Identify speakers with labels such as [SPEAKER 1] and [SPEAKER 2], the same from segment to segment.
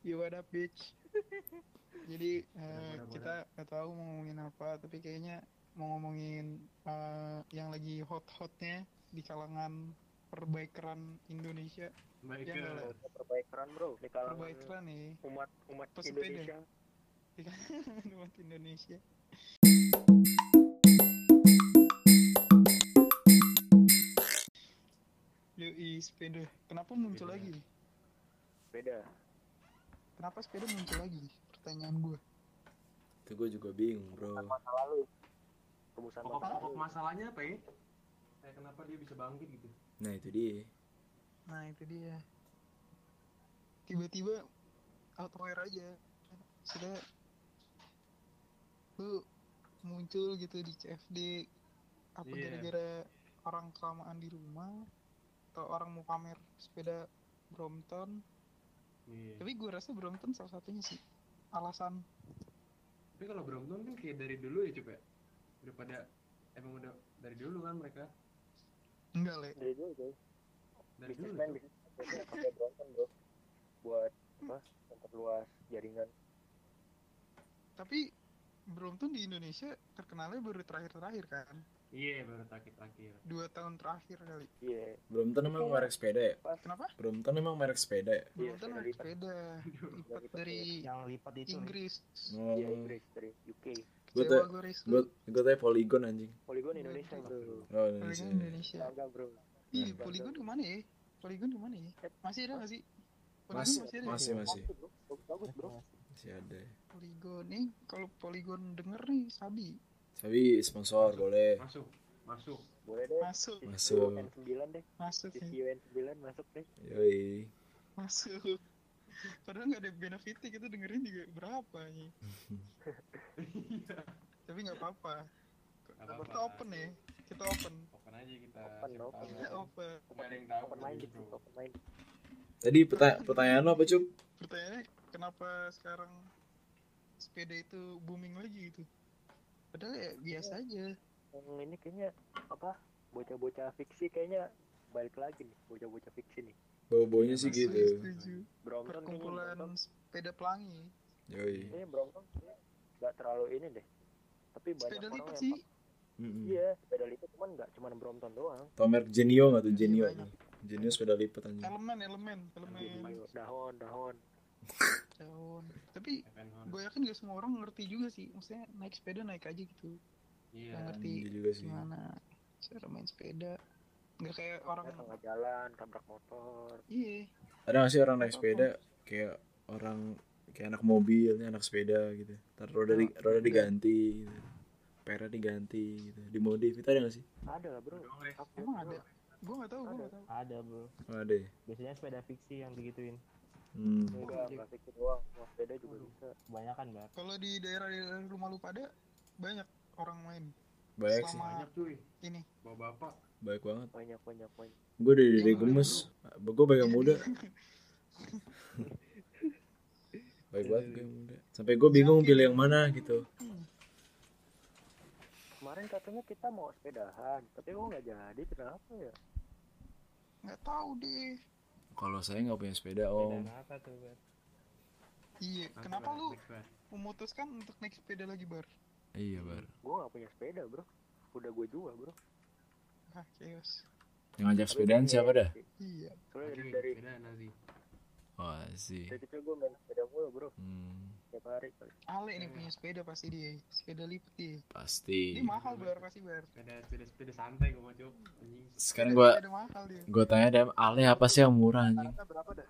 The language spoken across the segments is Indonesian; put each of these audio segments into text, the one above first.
[SPEAKER 1] You what up, bitch? Jadi eh,
[SPEAKER 2] Benar, benar,
[SPEAKER 1] kita nggak tahu mau ngomongin apa, tapi kayaknya mau ngomongin eh, yang lagi hot-hotnya di kalangan perbaikan Indonesia.
[SPEAKER 3] Ya,
[SPEAKER 2] Baik,
[SPEAKER 1] Iya, boleh.
[SPEAKER 3] perbaikan bro di kalangan
[SPEAKER 1] Perbaikan nih
[SPEAKER 3] umat umat
[SPEAKER 1] Pesepeda.
[SPEAKER 3] Indonesia
[SPEAKER 1] di kalangan umat Indonesia. Yoi, sepeda. Kenapa muncul
[SPEAKER 2] Sepeda.
[SPEAKER 1] lagi?
[SPEAKER 3] beda
[SPEAKER 1] Kenapa sepeda muncul lagi? Pertanyaan gue.
[SPEAKER 4] Itu gue juga bingung bro.
[SPEAKER 3] masa lalu rumusan masa
[SPEAKER 2] pokok-pokok
[SPEAKER 3] lalu
[SPEAKER 2] masalahnya apa ya? Kayak kenapa dia bisa bangkit gitu?
[SPEAKER 4] Nah itu dia.
[SPEAKER 1] Nah itu dia. Tiba-tiba out of nowhere aja. Sudah lu muncul gitu di CFD apa
[SPEAKER 2] Iya.
[SPEAKER 1] gara-gara orang kelamaan di rumah atau orang mau pamer sepeda Brompton.
[SPEAKER 2] Iya.
[SPEAKER 1] Tapi gue rasa Brompton salah satunya sih alasan
[SPEAKER 2] Tapi kalau Brompton kan kayak dari dulu ya coba. Udah pada emang udah dari dulu kan mereka.
[SPEAKER 1] enggak le.
[SPEAKER 3] dari dulu tuh
[SPEAKER 2] Dari dulu.
[SPEAKER 3] bisnismen
[SPEAKER 2] Cuk.
[SPEAKER 3] bisnismen pakai drone kan bro buat apa memperluas jaringan
[SPEAKER 1] Tapi Brompton di Indonesia terkenalnya baru terakhir-terakhir kan.
[SPEAKER 2] Iya, baru terakhir-terakhir.
[SPEAKER 1] Dua tahun terakhir kali.
[SPEAKER 3] iya
[SPEAKER 4] Brompton emang merek sepeda ya?
[SPEAKER 1] Kenapa?
[SPEAKER 4] Brompton emang merek sepeda ya?
[SPEAKER 3] Iya,
[SPEAKER 1] Brompton
[SPEAKER 3] sepeda
[SPEAKER 1] naik
[SPEAKER 3] lipat.
[SPEAKER 1] sepeda. Lipat
[SPEAKER 3] lipat,
[SPEAKER 1] dari
[SPEAKER 5] yang lipat
[SPEAKER 2] Gitu,
[SPEAKER 5] itu
[SPEAKER 1] Inggris.
[SPEAKER 4] Oh,
[SPEAKER 3] iya Inggris dari UK
[SPEAKER 4] Gua
[SPEAKER 1] Kecewa
[SPEAKER 4] tuh-
[SPEAKER 1] gue Riz.
[SPEAKER 4] gue gue tanya Polygon anjing.
[SPEAKER 3] Polygon Indonesia bro
[SPEAKER 4] Oh,
[SPEAKER 1] Polygon
[SPEAKER 4] Indonesia.
[SPEAKER 1] Indonesia.
[SPEAKER 3] bangga bro
[SPEAKER 2] Iya,
[SPEAKER 1] Ih, Polygon kemana ya? Polygon kemana ya? Masih ada nggak sih? Polygon
[SPEAKER 4] Masih,
[SPEAKER 1] masih ada nggak
[SPEAKER 4] masih,
[SPEAKER 1] sih?
[SPEAKER 4] masih,
[SPEAKER 3] Bagus, bro. Bagus, bagus bro
[SPEAKER 4] masih ada.
[SPEAKER 1] Polygon nih, kalau Polygon denger nih, Sabi
[SPEAKER 4] Tapi sponsor boleh.
[SPEAKER 2] Masuk, masuk.
[SPEAKER 3] boleh deh
[SPEAKER 1] masuk,
[SPEAKER 4] Masuk.
[SPEAKER 3] N 9 deh
[SPEAKER 1] masuk ya,
[SPEAKER 2] Iya.
[SPEAKER 3] Sisio N 9 masuk deh
[SPEAKER 4] Yoi.
[SPEAKER 1] masuk. Padahal nggak ada benefitnya kita dengerin juga berapa ya.
[SPEAKER 2] Iya.
[SPEAKER 1] Tapi nggak apa-apa.
[SPEAKER 2] Nggak
[SPEAKER 1] Kita
[SPEAKER 2] apa-apa.
[SPEAKER 1] open ya, kita open,
[SPEAKER 2] Open aja kita.
[SPEAKER 3] Open,
[SPEAKER 2] siapa
[SPEAKER 3] open.
[SPEAKER 2] tahu.
[SPEAKER 1] kita open.
[SPEAKER 2] Nggak ada yang tahu gitu,
[SPEAKER 3] open
[SPEAKER 2] dari
[SPEAKER 3] minded
[SPEAKER 2] dulu.
[SPEAKER 3] bro open minded
[SPEAKER 4] Tadi peta- pertanyaan lo apa cup?
[SPEAKER 1] Pertanyaannya, kenapa sekarang sepeda itu booming lagi gitu? Padahal ya biasa
[SPEAKER 3] Iya.
[SPEAKER 1] aja.
[SPEAKER 3] yang Hmm, ini kayaknya apa bocah-bocah fiksi kayaknya balik lagi nih bocah-bocah fiksi nih
[SPEAKER 4] Bau-baunya sih
[SPEAKER 1] Saya
[SPEAKER 4] gitu.
[SPEAKER 1] setuju.
[SPEAKER 3] Brompton kayaknya
[SPEAKER 1] Perkumpulan
[SPEAKER 3] Brompton-
[SPEAKER 1] sepeda pelangi. iya.
[SPEAKER 4] Yoi.
[SPEAKER 3] kayaknya Brompton kayaknya nggak terlalu ini deh tapi banyak
[SPEAKER 1] Sepeda
[SPEAKER 3] orang
[SPEAKER 1] lipat
[SPEAKER 3] yang
[SPEAKER 1] sih.
[SPEAKER 4] Mm-mm.
[SPEAKER 3] iya sepeda lipat cuman nggak cuman Brompton doang
[SPEAKER 4] Tau merek Genio nggak tuh Genio?
[SPEAKER 1] Iya, banyak.
[SPEAKER 4] Genio sepeda lipat anjing.
[SPEAKER 1] Hmm. Elemen, elemen, elemen
[SPEAKER 3] Ayo, dahon dahon
[SPEAKER 1] daun. Tapi
[SPEAKER 2] Open on.
[SPEAKER 1] gue yakin gak semua orang ngerti juga sih. Maksudnya naik sepeda naik aja gitu.
[SPEAKER 2] Iya.
[SPEAKER 1] Nggak ngerti
[SPEAKER 4] Iya juga sih.
[SPEAKER 1] gimana cara main sepeda. Gak kayak
[SPEAKER 3] Ya,
[SPEAKER 1] orang
[SPEAKER 3] tengah jalan tabrak motor
[SPEAKER 1] iya.
[SPEAKER 4] Ada nggak sih orang naik sepeda kayak orang kayak anak mobil, ini anak sepeda gitu. Ntar roda di, roda diganti, gitu. Pera diganti, gitu. dimodif itu ada nggak sih?
[SPEAKER 3] ada lah bro
[SPEAKER 2] Doang, Res.
[SPEAKER 3] Aku-
[SPEAKER 1] Emang ada. Gue gak tahu, gue
[SPEAKER 3] Iya, Ada.
[SPEAKER 1] gak tahu.
[SPEAKER 5] ada bro
[SPEAKER 4] Oh, ada. ya?
[SPEAKER 5] biasanya sepeda fiksi yang digituin
[SPEAKER 4] Hmm.
[SPEAKER 3] enggak enggak fiksi doang mau sepeda juga
[SPEAKER 2] Waduh.
[SPEAKER 3] bisa
[SPEAKER 5] kebanyakan bar
[SPEAKER 1] Kalau di daerah-daerah rumah lu pada banyak orang main
[SPEAKER 4] Banyak sih,
[SPEAKER 1] Selama-
[SPEAKER 2] Banyak cuy.
[SPEAKER 1] ini.
[SPEAKER 2] Bawa bapak.
[SPEAKER 4] baik banget.
[SPEAKER 3] banyak banyak banyak
[SPEAKER 4] Gue dari dari
[SPEAKER 1] Iya,
[SPEAKER 4] gemes, gue baik yang muda. baik banget gue yang muda. Sampai gue bingung pilih yang mana gitu.
[SPEAKER 3] kemarin katanya kita mau sepedahan tapi kok nggak jadi kenapa ya
[SPEAKER 1] Gak tahu deh.
[SPEAKER 4] Kalau saya nggak punya sepeda oh. om,
[SPEAKER 5] sepeda apa tuh bar
[SPEAKER 1] Iya,
[SPEAKER 2] Nanti
[SPEAKER 1] kenapa
[SPEAKER 2] balik,
[SPEAKER 1] lu
[SPEAKER 2] next balik.
[SPEAKER 1] memutuskan untuk naik sepeda lagi bar?
[SPEAKER 4] iya bar.
[SPEAKER 3] gue nggak punya sepeda bro udah gue jual bro
[SPEAKER 1] Ah, chaos.
[SPEAKER 4] Yang ngajak sepedaan siapa dah?
[SPEAKER 1] Iya.
[SPEAKER 3] soalnya
[SPEAKER 2] Nanti
[SPEAKER 3] dari dari,
[SPEAKER 2] beda nanti.
[SPEAKER 4] Wah sih.
[SPEAKER 3] dari kecil gue main sepeda mulu bro
[SPEAKER 4] Hmm,
[SPEAKER 3] tiap hari
[SPEAKER 1] Ale ini punya sepeda pasti dia. Sepeda lipat dia.
[SPEAKER 4] pasti.
[SPEAKER 1] Ini mahal bar pasti bar.
[SPEAKER 2] Sepeda sepeda sepeda santai gue mau coba. Anjing.
[SPEAKER 4] Sekarang gue
[SPEAKER 1] Sepeda mahal dia.
[SPEAKER 4] gue tanya deh, Ale apa sih yang murah anjing?
[SPEAKER 3] rata berapa dah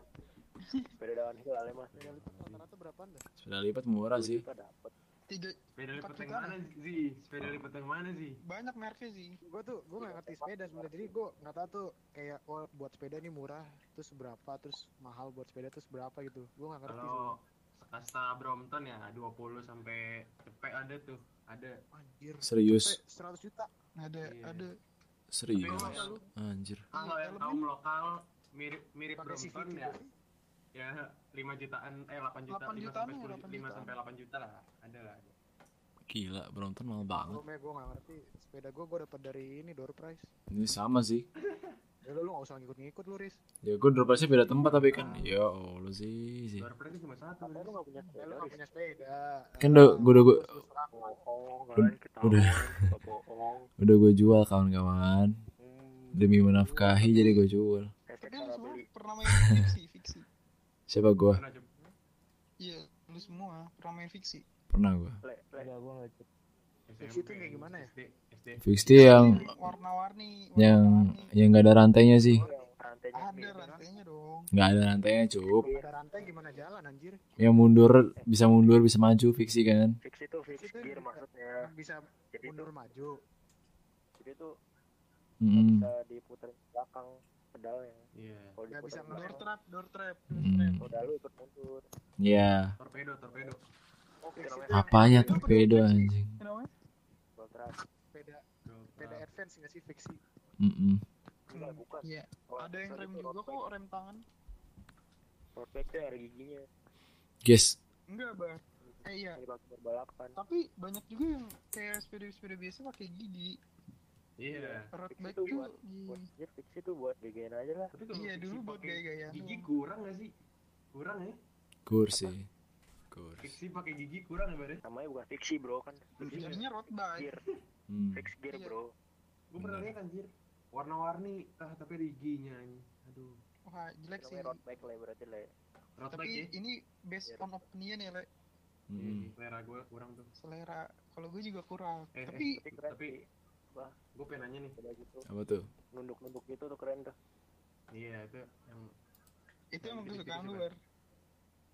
[SPEAKER 3] sepeda downhill ale mas sepeda lipat rata-rata berapa dah
[SPEAKER 4] Sepeda lipat murah sih.
[SPEAKER 3] kita dapat
[SPEAKER 1] Tiga
[SPEAKER 2] Sepeda lipat
[SPEAKER 1] Empat
[SPEAKER 2] yang
[SPEAKER 1] jutaan.
[SPEAKER 2] mana sih? Sepeda lipat yang mana sih?
[SPEAKER 1] banyak merknya sih.
[SPEAKER 6] gue tuh gue gak ngerti sepeda sebenarnya jadi gue nggak tahu tuh kayak oh buat sepeda nih murah terus berapa terus mahal buat sepeda terus berapa gitu gue gak ngerti
[SPEAKER 2] Kalau Sekasta Brompton ya 20 sampai cepet ada tuh. Ada.
[SPEAKER 6] sebenarnya. anjir Eh,
[SPEAKER 4] Serius,
[SPEAKER 6] seratus juta
[SPEAKER 1] Ada
[SPEAKER 2] Iya.
[SPEAKER 1] ada
[SPEAKER 4] serius.
[SPEAKER 2] Tapi kalau-
[SPEAKER 4] Anjir.
[SPEAKER 2] Kalau yang
[SPEAKER 1] Elemen.
[SPEAKER 2] kaum lokal mirip mirip
[SPEAKER 6] pakai CV
[SPEAKER 2] Brompton ya. Ya 5 jutaan eh 8 juta
[SPEAKER 1] 8
[SPEAKER 2] 5
[SPEAKER 1] jutaan
[SPEAKER 2] sampai
[SPEAKER 1] ya,
[SPEAKER 2] 10,
[SPEAKER 1] 8
[SPEAKER 2] 5
[SPEAKER 1] jutaan.
[SPEAKER 2] sampai 8 juta lah. Ada lah.
[SPEAKER 4] Gila, Brompton mahal banget.
[SPEAKER 6] gue gak ngerti sepeda gue gue dapat dari ini door prize
[SPEAKER 4] Ini sama sih.
[SPEAKER 6] Ya lu, lu gak usah ngikut-ngikut lu, Riz.
[SPEAKER 4] Ya gue dropasnya beda tempat tapi kan Ya Allah sih sih
[SPEAKER 2] Luar praktis cuma satu.
[SPEAKER 3] Katanya lu
[SPEAKER 2] Riz.
[SPEAKER 3] gak punya
[SPEAKER 6] Ya
[SPEAKER 3] sepeda,
[SPEAKER 6] lu gak
[SPEAKER 3] Riz.
[SPEAKER 6] punya sepeda.
[SPEAKER 4] Kan udah- gua udah- gua-
[SPEAKER 6] Terus terang,
[SPEAKER 3] Bohong, kalian ketahuan,
[SPEAKER 4] udah.
[SPEAKER 3] suka bohong.
[SPEAKER 4] Udah gue jual kawan-kawan
[SPEAKER 3] Hmm,
[SPEAKER 4] Demi menafkahi jadi gue jual
[SPEAKER 3] efek
[SPEAKER 1] Tapi lu
[SPEAKER 3] salah
[SPEAKER 1] semua
[SPEAKER 3] beli.
[SPEAKER 1] pernah main fiksi, fiksi.
[SPEAKER 4] Siapa gue?
[SPEAKER 2] Mana, Cep?
[SPEAKER 1] Iya, lu semua pernah main fiksi.
[SPEAKER 4] Pernah gue
[SPEAKER 3] Le, le.
[SPEAKER 5] Enggak, gua enggak cek.
[SPEAKER 2] SMP,
[SPEAKER 6] situ kayak gimana ya?
[SPEAKER 2] SD, SD.
[SPEAKER 4] Fixty ya yang
[SPEAKER 1] warna-warni,
[SPEAKER 4] Yang
[SPEAKER 1] warna-warni.
[SPEAKER 4] yang gak ada rantainya sih
[SPEAKER 3] Yang rantainya
[SPEAKER 1] ada
[SPEAKER 3] sendiri.
[SPEAKER 1] rantainya dong.
[SPEAKER 4] Gak ada rantainya cukup
[SPEAKER 3] Iya,
[SPEAKER 6] Ada rantai gimana jalan anjir?
[SPEAKER 4] Yang mundur bisa mundur bisa maju fiksi kan
[SPEAKER 3] fix itu fix
[SPEAKER 6] Fix itu
[SPEAKER 3] gear
[SPEAKER 6] bisa.
[SPEAKER 3] maksudnya.
[SPEAKER 6] Bisa
[SPEAKER 3] Jadi tuh,
[SPEAKER 6] mundur maju.
[SPEAKER 3] jadi tuh nggak
[SPEAKER 4] Mm-mm.
[SPEAKER 3] bisa diputer ke belakang pedalnya.
[SPEAKER 2] Iya.
[SPEAKER 3] Kalau
[SPEAKER 6] Nggak bisa
[SPEAKER 3] diputer ke
[SPEAKER 1] Door
[SPEAKER 3] belakang,
[SPEAKER 1] trap, door trap.
[SPEAKER 4] Mm-mm.
[SPEAKER 3] udah lu ikut mundur.
[SPEAKER 4] Ya
[SPEAKER 2] Torpedo, torpedo.
[SPEAKER 3] Oke,
[SPEAKER 6] Fix
[SPEAKER 3] namanya
[SPEAKER 6] itu.
[SPEAKER 4] Apanya torpedo anjing
[SPEAKER 1] You know what?
[SPEAKER 3] full track.
[SPEAKER 6] Sepeda,
[SPEAKER 2] Tuh,
[SPEAKER 6] sepeda
[SPEAKER 2] ah,
[SPEAKER 6] advance nggak sih fiksi?
[SPEAKER 4] Mm-mm.
[SPEAKER 3] Enggak, bukan.
[SPEAKER 1] Iya,
[SPEAKER 3] Kalau
[SPEAKER 1] ada yang
[SPEAKER 3] full
[SPEAKER 1] rem
[SPEAKER 3] itu
[SPEAKER 1] juga kok, rem tangan.
[SPEAKER 3] Road bike tuh ada giginya.
[SPEAKER 4] Guys
[SPEAKER 1] Enggak, Bar. Eh iya,
[SPEAKER 3] Ini pakai berbalapan.
[SPEAKER 1] tapi banyak juga yang kayak sepeda-sepeda biasa pakai gigi.
[SPEAKER 2] Iya.
[SPEAKER 1] Road
[SPEAKER 3] Itu
[SPEAKER 1] bike
[SPEAKER 3] buat-
[SPEAKER 1] tuh gigi.
[SPEAKER 3] Buat gear fix itu buat gegain aja lah.
[SPEAKER 2] Tapi kalau
[SPEAKER 1] Iya,
[SPEAKER 2] fiksi
[SPEAKER 1] dulu buat
[SPEAKER 2] pakai
[SPEAKER 1] gaya-gaya.
[SPEAKER 2] Gigi kurang gak sih? Kurang ya?
[SPEAKER 4] kursi Kursi
[SPEAKER 2] Fiksi pakai gigi kurang ya, Bare?
[SPEAKER 3] Namanya bukan fiksi, Bro, kan.
[SPEAKER 2] Iya.
[SPEAKER 1] Sebenarnya road bike.
[SPEAKER 3] Gear,
[SPEAKER 4] Hmm.
[SPEAKER 3] fix gear,
[SPEAKER 1] Iya.
[SPEAKER 3] Bro.
[SPEAKER 2] Gue pernah
[SPEAKER 4] Bener.
[SPEAKER 2] lihat anjir. Warna-warni, ah tapi ada giginya ini. Aduh.
[SPEAKER 1] Wah, jelek sih.
[SPEAKER 3] Namanya road bike lah berarti lah. ya.
[SPEAKER 2] Road
[SPEAKER 1] Tapi
[SPEAKER 2] bike ya?
[SPEAKER 1] ini based on opinion ya, Le.
[SPEAKER 2] Iya,
[SPEAKER 4] Mm-mm.
[SPEAKER 2] selera gue kurang tuh.
[SPEAKER 1] Selera. Kalau gue juga kurang.
[SPEAKER 2] Eh,
[SPEAKER 1] Tapi
[SPEAKER 3] Tapi keren
[SPEAKER 2] Tapi-
[SPEAKER 3] sih. Wah,
[SPEAKER 2] Gue pengen nanya nih.
[SPEAKER 3] udah gitu.
[SPEAKER 4] Apa tuh?
[SPEAKER 3] Nunduk-nunduk gitu tuh keren tuh.
[SPEAKER 2] Iya, itu yang
[SPEAKER 1] itu
[SPEAKER 3] Nah,
[SPEAKER 1] emang
[SPEAKER 3] gitu,
[SPEAKER 2] Jadi,
[SPEAKER 1] kesukaan
[SPEAKER 2] jadi,
[SPEAKER 1] lu,
[SPEAKER 2] Bar.
[SPEAKER 1] Bar.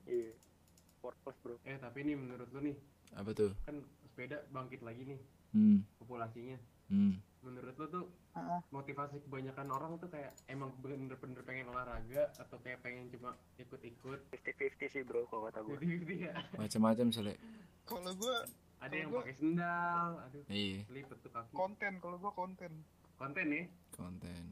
[SPEAKER 3] Iya. Sport plus, Bro.
[SPEAKER 2] eh tapi nih menurut lu nih,
[SPEAKER 4] Apa tuh?
[SPEAKER 2] kan sepeda bangkit lagi nih
[SPEAKER 4] Hmm.
[SPEAKER 2] populasinya.
[SPEAKER 4] Hmm.
[SPEAKER 2] Menurut lu tuh
[SPEAKER 1] Ah, ah.
[SPEAKER 2] motivasi kebanyakan orang tuh kayak emang bener-bener pengen olahraga atau kayak pengen cuma ikut-ikut
[SPEAKER 3] 50-50 sih, Bro, kalau kata gue.
[SPEAKER 2] gitu ya.
[SPEAKER 4] Macam-macam sele.
[SPEAKER 1] Kalau gue
[SPEAKER 3] Gitu.
[SPEAKER 2] Ada
[SPEAKER 1] Kalau
[SPEAKER 2] yang
[SPEAKER 1] gua-
[SPEAKER 2] pakai sendal, aduh
[SPEAKER 4] Iya,
[SPEAKER 2] lipet tuh kaki.
[SPEAKER 1] konten, kalau gue konten.
[SPEAKER 2] Konten ya.
[SPEAKER 4] konten.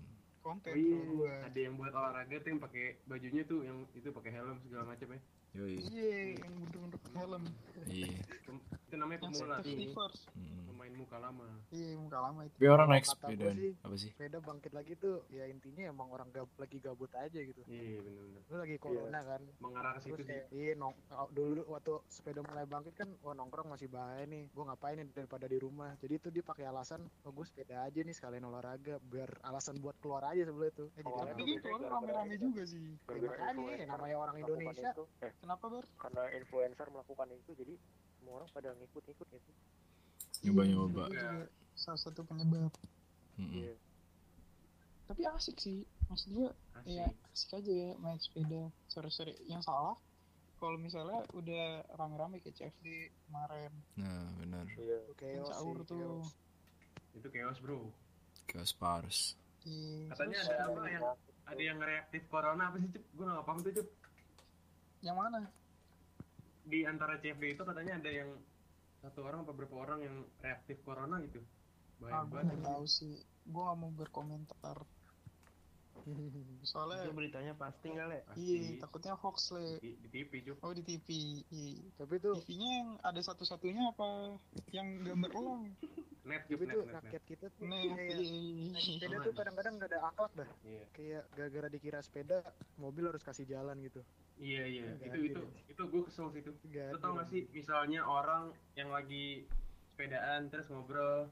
[SPEAKER 1] Konten
[SPEAKER 2] Oh,
[SPEAKER 1] kalau
[SPEAKER 2] iya.
[SPEAKER 1] gue.
[SPEAKER 2] Ada yang buat olahraga tuh yang pakai bajunya tuh yang itu pakai helm segala macam ya.
[SPEAKER 4] Yoi.
[SPEAKER 1] Iya, yang mundur-mundur ke helm.
[SPEAKER 4] Iya.
[SPEAKER 2] Pem- itu namanya
[SPEAKER 1] Yang
[SPEAKER 2] pemula
[SPEAKER 3] Iya.
[SPEAKER 1] safety
[SPEAKER 2] nih.
[SPEAKER 1] first.
[SPEAKER 4] Mm.
[SPEAKER 2] Pemain muka lama.
[SPEAKER 1] Iya, muka lama itu.
[SPEAKER 4] Tapi orang naik
[SPEAKER 6] Kata
[SPEAKER 4] sepeda
[SPEAKER 6] gua sih-
[SPEAKER 4] apa sih?
[SPEAKER 6] Sepeda bangkit lagi tuh ya intinya emang orang gab- lagi gabut aja gitu.
[SPEAKER 2] Iya benar-benar.
[SPEAKER 6] Lu lagi corona kan.
[SPEAKER 2] Mengarah ke situ
[SPEAKER 6] Terus
[SPEAKER 2] sih.
[SPEAKER 6] kayak iya nong oh, dulu waktu sepeda mulai bangkit kan wah nongkrong masih bahaya nih. Gua ngapain nih daripada di rumah. Jadi itu dia pakai alasan oh gue sepeda aja nih sekalian olahraga biar alasan buat keluar aja sebelum itu. Eh, jadi
[SPEAKER 3] Oh,
[SPEAKER 1] Tapi
[SPEAKER 6] aneh.
[SPEAKER 1] kan keluar rame-rame juga sih.
[SPEAKER 6] Ya,
[SPEAKER 3] Gara-gara
[SPEAKER 6] makanya
[SPEAKER 3] influencer
[SPEAKER 6] namanya orang
[SPEAKER 3] melakukan
[SPEAKER 6] Indonesia
[SPEAKER 3] itu, eh,
[SPEAKER 1] Kenapa, Bar?
[SPEAKER 3] karena influencer melakukan itu jadi semua orang pada ngikut-ngikut gitu.
[SPEAKER 4] Nyoba-nyoba. Hmm,
[SPEAKER 1] Iya, menurut gua juga Salah satu penyebab.
[SPEAKER 4] Mm-mm.
[SPEAKER 3] Iya.
[SPEAKER 1] Tapi asik sih. Maksud gue,
[SPEAKER 2] Asik.
[SPEAKER 5] iya.
[SPEAKER 1] ya asik aja ya main sepeda. Sore-sore. Yang salah, kalau misalnya udah rame-rame kayak CFD kemarin.
[SPEAKER 4] Nah, benar.
[SPEAKER 3] Iya.
[SPEAKER 1] Yang
[SPEAKER 6] Chaos
[SPEAKER 1] sahur
[SPEAKER 6] sih,
[SPEAKER 1] tuh.
[SPEAKER 6] chaos.
[SPEAKER 2] Itu chaos, Bro.
[SPEAKER 4] Chaos Pars.
[SPEAKER 1] Iya.
[SPEAKER 2] Katanya
[SPEAKER 1] Terus,
[SPEAKER 2] ada
[SPEAKER 1] eh,
[SPEAKER 2] apa
[SPEAKER 3] ya?
[SPEAKER 2] yang ada yang reaktif corona apa sih, Cep? Gua enggak paham tuh, Cep.
[SPEAKER 1] Yang mana?
[SPEAKER 2] Di antara CFD itu katanya ada yang satu orang apa berapa orang yang reaktif corona gitu.
[SPEAKER 1] Ah,
[SPEAKER 2] Bahaya
[SPEAKER 1] gue
[SPEAKER 2] banget.
[SPEAKER 1] nggak tahu sih. Gue nggak mau berkomentar.
[SPEAKER 5] Itu
[SPEAKER 1] Soalnya,
[SPEAKER 5] beritanya pasti enggak, Le?
[SPEAKER 1] iya,
[SPEAKER 2] Pasti
[SPEAKER 1] takutnya hoax le.
[SPEAKER 2] di, di TV, Cep.
[SPEAKER 1] Oh di TV. Iya.
[SPEAKER 6] Tapi tuh
[SPEAKER 1] TV-nya yang ada satu-satunya apa? Yang gambar elang.
[SPEAKER 2] Net, Cep,
[SPEAKER 6] tapi
[SPEAKER 2] net,
[SPEAKER 6] tuh
[SPEAKER 2] net, net.
[SPEAKER 6] rakyat kita tuh
[SPEAKER 1] Nah,
[SPEAKER 6] kayak
[SPEAKER 1] iya.
[SPEAKER 6] sepeda tuh kadang-kadang gak ada akhlak dah.
[SPEAKER 2] Iya.
[SPEAKER 6] Kayak gara-gara dikira sepeda mobil harus kasih jalan gitu.
[SPEAKER 2] Iya, iya.
[SPEAKER 6] Enggak
[SPEAKER 2] Itu
[SPEAKER 6] ada.
[SPEAKER 2] itu itu gue kesel sih itu. Lo
[SPEAKER 6] Gak
[SPEAKER 2] tau gak sih misalnya orang yang lagi sepedaan terus ngobrol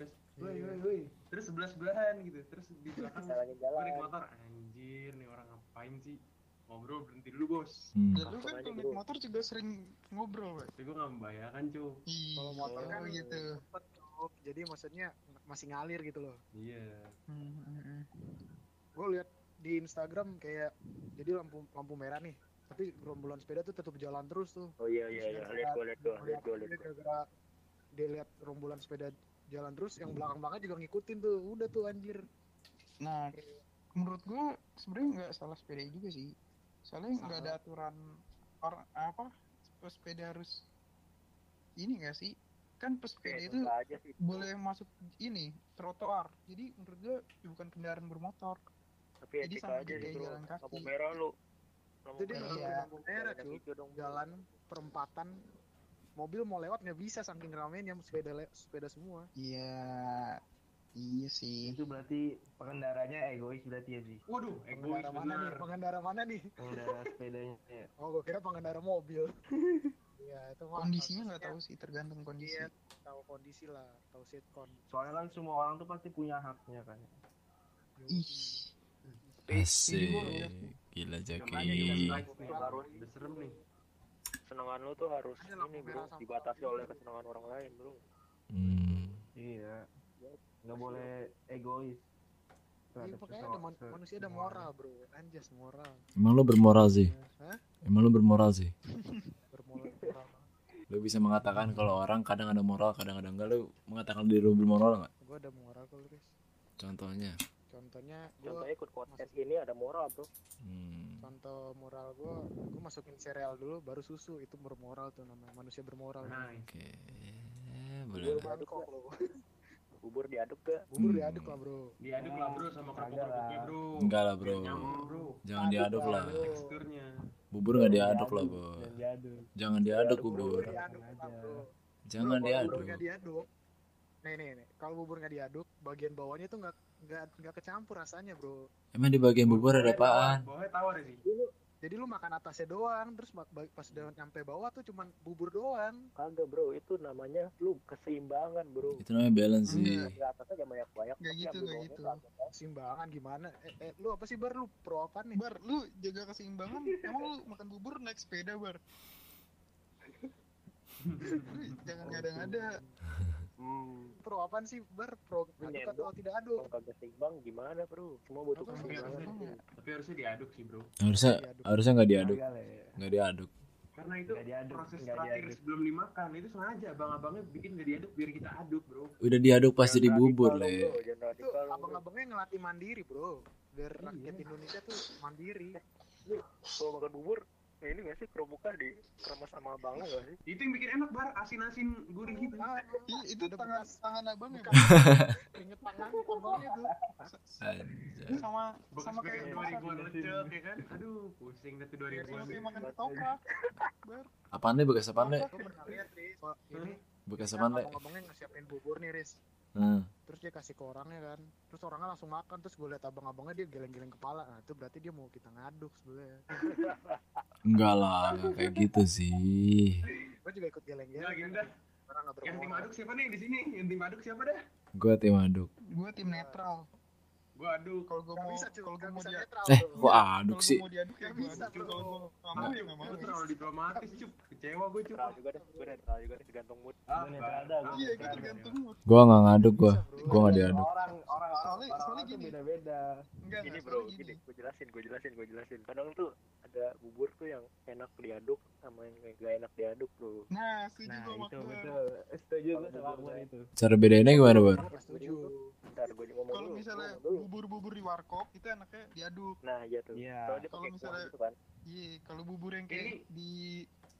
[SPEAKER 2] terus woi
[SPEAKER 6] Iya.
[SPEAKER 2] woi woi terus sebelah sebelahan gitu terus di belakang gue
[SPEAKER 3] Jalanin jalan.
[SPEAKER 2] naik motor anjir nih orang ngapain sih ngobrol berhenti dulu bos
[SPEAKER 4] Hmm.
[SPEAKER 1] Dan lu kan kalau naik motor juga sering ngobrol, Pak.
[SPEAKER 2] tapi gue gak membayangkan cu
[SPEAKER 1] Iya,
[SPEAKER 6] Kalau motor kan
[SPEAKER 1] gitu.
[SPEAKER 6] cepet, Cok. Jadi maksudnya masih ngalir gitu loh.
[SPEAKER 2] iya
[SPEAKER 1] Hmm, hmm, hmm.
[SPEAKER 6] Gue lihat di Instagram kayak jadi lampu lampu merah nih. Tapi gerombolan sepeda tuh tetap jalan terus tuh.
[SPEAKER 3] Oh iya iya iya, lihat gua lihat gua, lihat gua lihat
[SPEAKER 6] Jadi
[SPEAKER 3] gua.
[SPEAKER 6] gara-gara dia lihat gerombolan sepeda jalan terus yang belakang belakang juga ngikutin tuh. Udah tuh anjir.
[SPEAKER 1] Nah, menurut gua sebenarnya nggak salah sepeda juga sih. Soalnya nggak ada aturan orang apa sepeda harus ini nggak sih? Kan pesepeda
[SPEAKER 3] Kayak
[SPEAKER 1] itu
[SPEAKER 3] susah aja sih.
[SPEAKER 1] boleh masuk ini trotoar. Jadi menurut gue bukan kendaraan bermotor.
[SPEAKER 3] Tapi
[SPEAKER 1] jadi
[SPEAKER 3] etika
[SPEAKER 1] sama
[SPEAKER 3] aja
[SPEAKER 1] kayak
[SPEAKER 3] sih, Bro.
[SPEAKER 1] jalan kaki.
[SPEAKER 3] Lampu merah lu. Lampu
[SPEAKER 6] Jadi
[SPEAKER 3] merah.
[SPEAKER 1] iya.
[SPEAKER 6] lampu merah
[SPEAKER 3] Jalan
[SPEAKER 6] tuh
[SPEAKER 3] hijau dong.
[SPEAKER 6] jalan perempatan mobil mau lewat nggak bisa saking ramenya sepeda le- sepeda semua.
[SPEAKER 1] Iya. Iya sih.
[SPEAKER 5] Itu berarti pengendaranya egois berarti ya sih.
[SPEAKER 2] Waduh, egois
[SPEAKER 6] Pengendara mana nih?
[SPEAKER 2] bener.
[SPEAKER 6] Pengendara mana nih?
[SPEAKER 5] Pengendara sepedanya. ya.
[SPEAKER 6] Oh, gue kira pengendara mobil. Iya, itu mah
[SPEAKER 1] Kondisinya nggak tahu sih, tergantung kondisi.
[SPEAKER 6] Iya, tahu kondisi lah, tahu sitcom.
[SPEAKER 5] Soalnya kan semua orang tuh pasti punya haknya kan.
[SPEAKER 2] Iya,
[SPEAKER 1] Ih,
[SPEAKER 4] Asik. Gila
[SPEAKER 2] Makanya juga
[SPEAKER 4] Jaki.
[SPEAKER 2] strike
[SPEAKER 5] gitu.
[SPEAKER 2] nih, iya. baru nih. Udah serem nih.
[SPEAKER 3] Senengan lu tuh harus
[SPEAKER 6] Ada lampu
[SPEAKER 3] ini
[SPEAKER 6] merah
[SPEAKER 3] bro,
[SPEAKER 6] sama- gitu.
[SPEAKER 3] dibatasi oleh kesenangan orang lain bro.
[SPEAKER 4] Hmm.
[SPEAKER 5] Iya. Nggak boleh egois.
[SPEAKER 6] Iya,
[SPEAKER 5] terhadap
[SPEAKER 6] makanya
[SPEAKER 5] seseo-
[SPEAKER 6] ada man-
[SPEAKER 5] se-
[SPEAKER 6] manusia ada
[SPEAKER 5] semua
[SPEAKER 6] moral,
[SPEAKER 5] orang.
[SPEAKER 6] bro. Anjas moral.
[SPEAKER 4] Emang lu bermoral sih?
[SPEAKER 6] Hah?
[SPEAKER 4] Emang lu bermoral sih?
[SPEAKER 6] Bermoral. moral.
[SPEAKER 4] Lu bisa mengatakan kalau orang kadang ada moral, kadang ada enggak. Lu mengatakan diri lu bermoral nggak?
[SPEAKER 6] gue ada moral kalau Riz.
[SPEAKER 4] Contohnya.
[SPEAKER 6] Contohnya gue
[SPEAKER 3] Contohnya ikut kontes ini ada moral bro.
[SPEAKER 4] Hmm.
[SPEAKER 6] contoh moral gue, gue masukin sereal dulu baru susu itu bermoral tuh namanya manusia bermoral.
[SPEAKER 2] Nice.
[SPEAKER 4] Oke.
[SPEAKER 6] Bubur
[SPEAKER 4] Boleh lah.
[SPEAKER 6] diaduk kok lo.
[SPEAKER 3] Bubur diaduk gak?
[SPEAKER 6] Bubur
[SPEAKER 4] Hmm.
[SPEAKER 6] diaduk lah bro.
[SPEAKER 2] Diaduk lah bro sama kerupuk-kerupuknya bro.
[SPEAKER 4] Enggak lah bro.
[SPEAKER 2] Biar Nyaman bro.
[SPEAKER 4] Jangan diaduk lah.
[SPEAKER 2] Teksturnya.
[SPEAKER 4] Bubur nggak diaduk lah bro.
[SPEAKER 5] Jangan diaduk.
[SPEAKER 4] Jangan diaduk bubur.
[SPEAKER 6] Bubur diaduk lah bro.
[SPEAKER 4] Jangan
[SPEAKER 6] Bro, kalau
[SPEAKER 4] diaduk.
[SPEAKER 6] Bubur nggak diaduk. Nih nih nih, kalau bubur nggak diaduk, bagian bawahnya tuh nggak nggak nggak kecampur rasanya bro.
[SPEAKER 4] Emang di bagian bubur ada apaan?
[SPEAKER 2] Bawahnya tawar sih.
[SPEAKER 6] Jadi lu makan atasnya doang, terus ba- ba- pas udah nyampe bawah tuh cuman bubur doang.
[SPEAKER 3] Kagak bro, itu namanya lu keseimbangan bro.
[SPEAKER 4] Itu namanya balance sih.
[SPEAKER 1] Enggak.
[SPEAKER 3] Di atasnya jangan banyak banyak.
[SPEAKER 1] Nggak gitu, nggak gitu.
[SPEAKER 6] Simbangan gimana? Eh, eh, lu apa sih bar lu pro apa nih?
[SPEAKER 1] Bar, lu jaga keseimbangan. Emang lu makan bubur naik sepeda, Bar? Lu jangan ngada-ngada.
[SPEAKER 2] Hmm.
[SPEAKER 6] Pro apaan sih bar? Pro aduk
[SPEAKER 3] Menyendok.
[SPEAKER 6] atau tidak aduk?
[SPEAKER 3] Kalau kagak seimbang gimana bro? Semua butuh
[SPEAKER 6] Apa sih?
[SPEAKER 3] keseimbangan.
[SPEAKER 2] Tapi harusnya diaduk sih bro.
[SPEAKER 4] Harusnya
[SPEAKER 6] Diaduk.
[SPEAKER 4] harusnya nggak diaduk.
[SPEAKER 5] Kagak lah ya.
[SPEAKER 4] Nggak diaduk.
[SPEAKER 2] Karena itu
[SPEAKER 5] Nggak diaduk,
[SPEAKER 2] proses
[SPEAKER 5] nggak
[SPEAKER 2] terakhir
[SPEAKER 5] diaduk.
[SPEAKER 2] sebelum dimakan itu sengaja abang-abangnya bikin nggak diaduk biar kita aduk bro.
[SPEAKER 4] Udah diaduk pas jadi
[SPEAKER 3] Jangan
[SPEAKER 4] bubur
[SPEAKER 3] radikal dong,
[SPEAKER 4] le.
[SPEAKER 3] bro, Jangan
[SPEAKER 6] Itu
[SPEAKER 3] radikal dong, bro.
[SPEAKER 6] abang-abangnya ngelatih mandiri bro. Biar
[SPEAKER 2] Iya.
[SPEAKER 6] rakyat Indonesia tuh mandiri.
[SPEAKER 3] Kalau makan bubur, ya ini gak sih kerupuknya di kremes sama abang lu gak sih?
[SPEAKER 2] Itu yang bikin enak bar asin-asin gurih gitu.
[SPEAKER 6] Ah,
[SPEAKER 1] Ih, Iya, itu
[SPEAKER 6] Ada
[SPEAKER 1] tangan
[SPEAKER 6] bekas.
[SPEAKER 1] tangan abang ya,
[SPEAKER 6] Bukan. Ingat tangan abangnya tuh.
[SPEAKER 4] Anjay.
[SPEAKER 1] sama
[SPEAKER 2] Bekas
[SPEAKER 1] sama
[SPEAKER 2] kayak
[SPEAKER 1] kayak
[SPEAKER 2] dua ribuan
[SPEAKER 1] makan-
[SPEAKER 2] lecek ya kan. Aduh pusing dah tuh dua
[SPEAKER 1] kayak
[SPEAKER 2] ribuan.
[SPEAKER 1] masih makan ketoprak.
[SPEAKER 4] Apaan nih bekas apaan nih?
[SPEAKER 6] Gue pernah lihat Riz. Oh, ini
[SPEAKER 4] Bekas
[SPEAKER 6] kan
[SPEAKER 4] apaan nih?
[SPEAKER 6] abang-abangnya nggak siapin bubur nih Riz.
[SPEAKER 4] Nah,
[SPEAKER 6] Terus dia kasih ke orangnya kan. Terus orangnya langsung makan. Terus gue liat abang-abangnya dia geleng-geleng kepala. Nah itu berarti dia mau kita ngaduk sebenernya.
[SPEAKER 4] enggak lah, enggak kayak gitu sih.
[SPEAKER 6] Gue juga ikut
[SPEAKER 2] Ya
[SPEAKER 1] Iya,
[SPEAKER 6] geleng-geleng.
[SPEAKER 2] gini dah.
[SPEAKER 6] Orang nggak
[SPEAKER 2] Yang tim
[SPEAKER 6] bermoral.
[SPEAKER 2] aduk siapa nih di sini? Yang tim aduk siapa dah?
[SPEAKER 4] Gue tim aduk.
[SPEAKER 1] Gue tim netral.
[SPEAKER 2] Gua aduk.
[SPEAKER 1] Kalau gue
[SPEAKER 6] Gak
[SPEAKER 1] mau
[SPEAKER 6] bisa cuy.
[SPEAKER 1] kalau gue
[SPEAKER 6] Gak
[SPEAKER 1] mau
[SPEAKER 6] bisa
[SPEAKER 1] dia
[SPEAKER 6] netral.
[SPEAKER 4] Eh,
[SPEAKER 6] bro.
[SPEAKER 4] kok
[SPEAKER 1] kalau
[SPEAKER 4] aduk
[SPEAKER 1] gue
[SPEAKER 4] sih?
[SPEAKER 1] mau diaduk ya
[SPEAKER 6] Gak
[SPEAKER 1] gue
[SPEAKER 6] bisa,
[SPEAKER 1] aduk. Cuy.
[SPEAKER 6] bro.
[SPEAKER 1] Kalau gue nggak mau ya nggak mau.
[SPEAKER 2] Lu terlalu diplomatis cup. Kecewa gue cup.
[SPEAKER 3] Netral juga deh, gue netral juga deh, tergantung mood.
[SPEAKER 2] Ah,
[SPEAKER 5] Gua
[SPEAKER 2] Bar.
[SPEAKER 5] netral dah,
[SPEAKER 2] Ah,
[SPEAKER 5] gua
[SPEAKER 1] Iya, gue
[SPEAKER 5] netral.
[SPEAKER 1] tergantung. mood.
[SPEAKER 4] Gue nggak ngaduk gue.
[SPEAKER 6] Bisa, bro.
[SPEAKER 4] Gue nggak diaduk.
[SPEAKER 5] Orang orang
[SPEAKER 1] Soalnya-
[SPEAKER 5] orang
[SPEAKER 1] soalnya
[SPEAKER 5] orang tuh
[SPEAKER 1] gini.
[SPEAKER 5] beda-beda.
[SPEAKER 1] Enggak,
[SPEAKER 3] Gini
[SPEAKER 1] enggak,
[SPEAKER 3] bro,
[SPEAKER 1] soalnya
[SPEAKER 3] gini, gue jelasin, gue jelasin, gue jelasin. Kadang tuh ada bubur tuh yang enak diaduk sama yang gak enak diaduk bro.
[SPEAKER 1] Nah, setuju
[SPEAKER 5] Nah,
[SPEAKER 1] gue sama
[SPEAKER 5] itu
[SPEAKER 1] gua.
[SPEAKER 5] betul. Setuju gua sama
[SPEAKER 3] Bubur
[SPEAKER 5] Akbar
[SPEAKER 3] saya.
[SPEAKER 5] itu.
[SPEAKER 4] Cara bedainnya gimana, Bar?
[SPEAKER 6] Gue setuju.
[SPEAKER 3] Ntar gue ngomong
[SPEAKER 1] Kalau
[SPEAKER 3] dulu,
[SPEAKER 1] misalnya
[SPEAKER 3] ngomong dulu.
[SPEAKER 1] bubur-bubur di warkop itu enaknya diaduk.
[SPEAKER 3] Nah iya tuh.
[SPEAKER 5] Iya.
[SPEAKER 3] Kalau dia
[SPEAKER 1] Kalau
[SPEAKER 3] pakai kuah
[SPEAKER 1] misalnya
[SPEAKER 3] gitu kan.
[SPEAKER 1] Iya, kalau bubur yang kayak
[SPEAKER 2] Ini-
[SPEAKER 1] di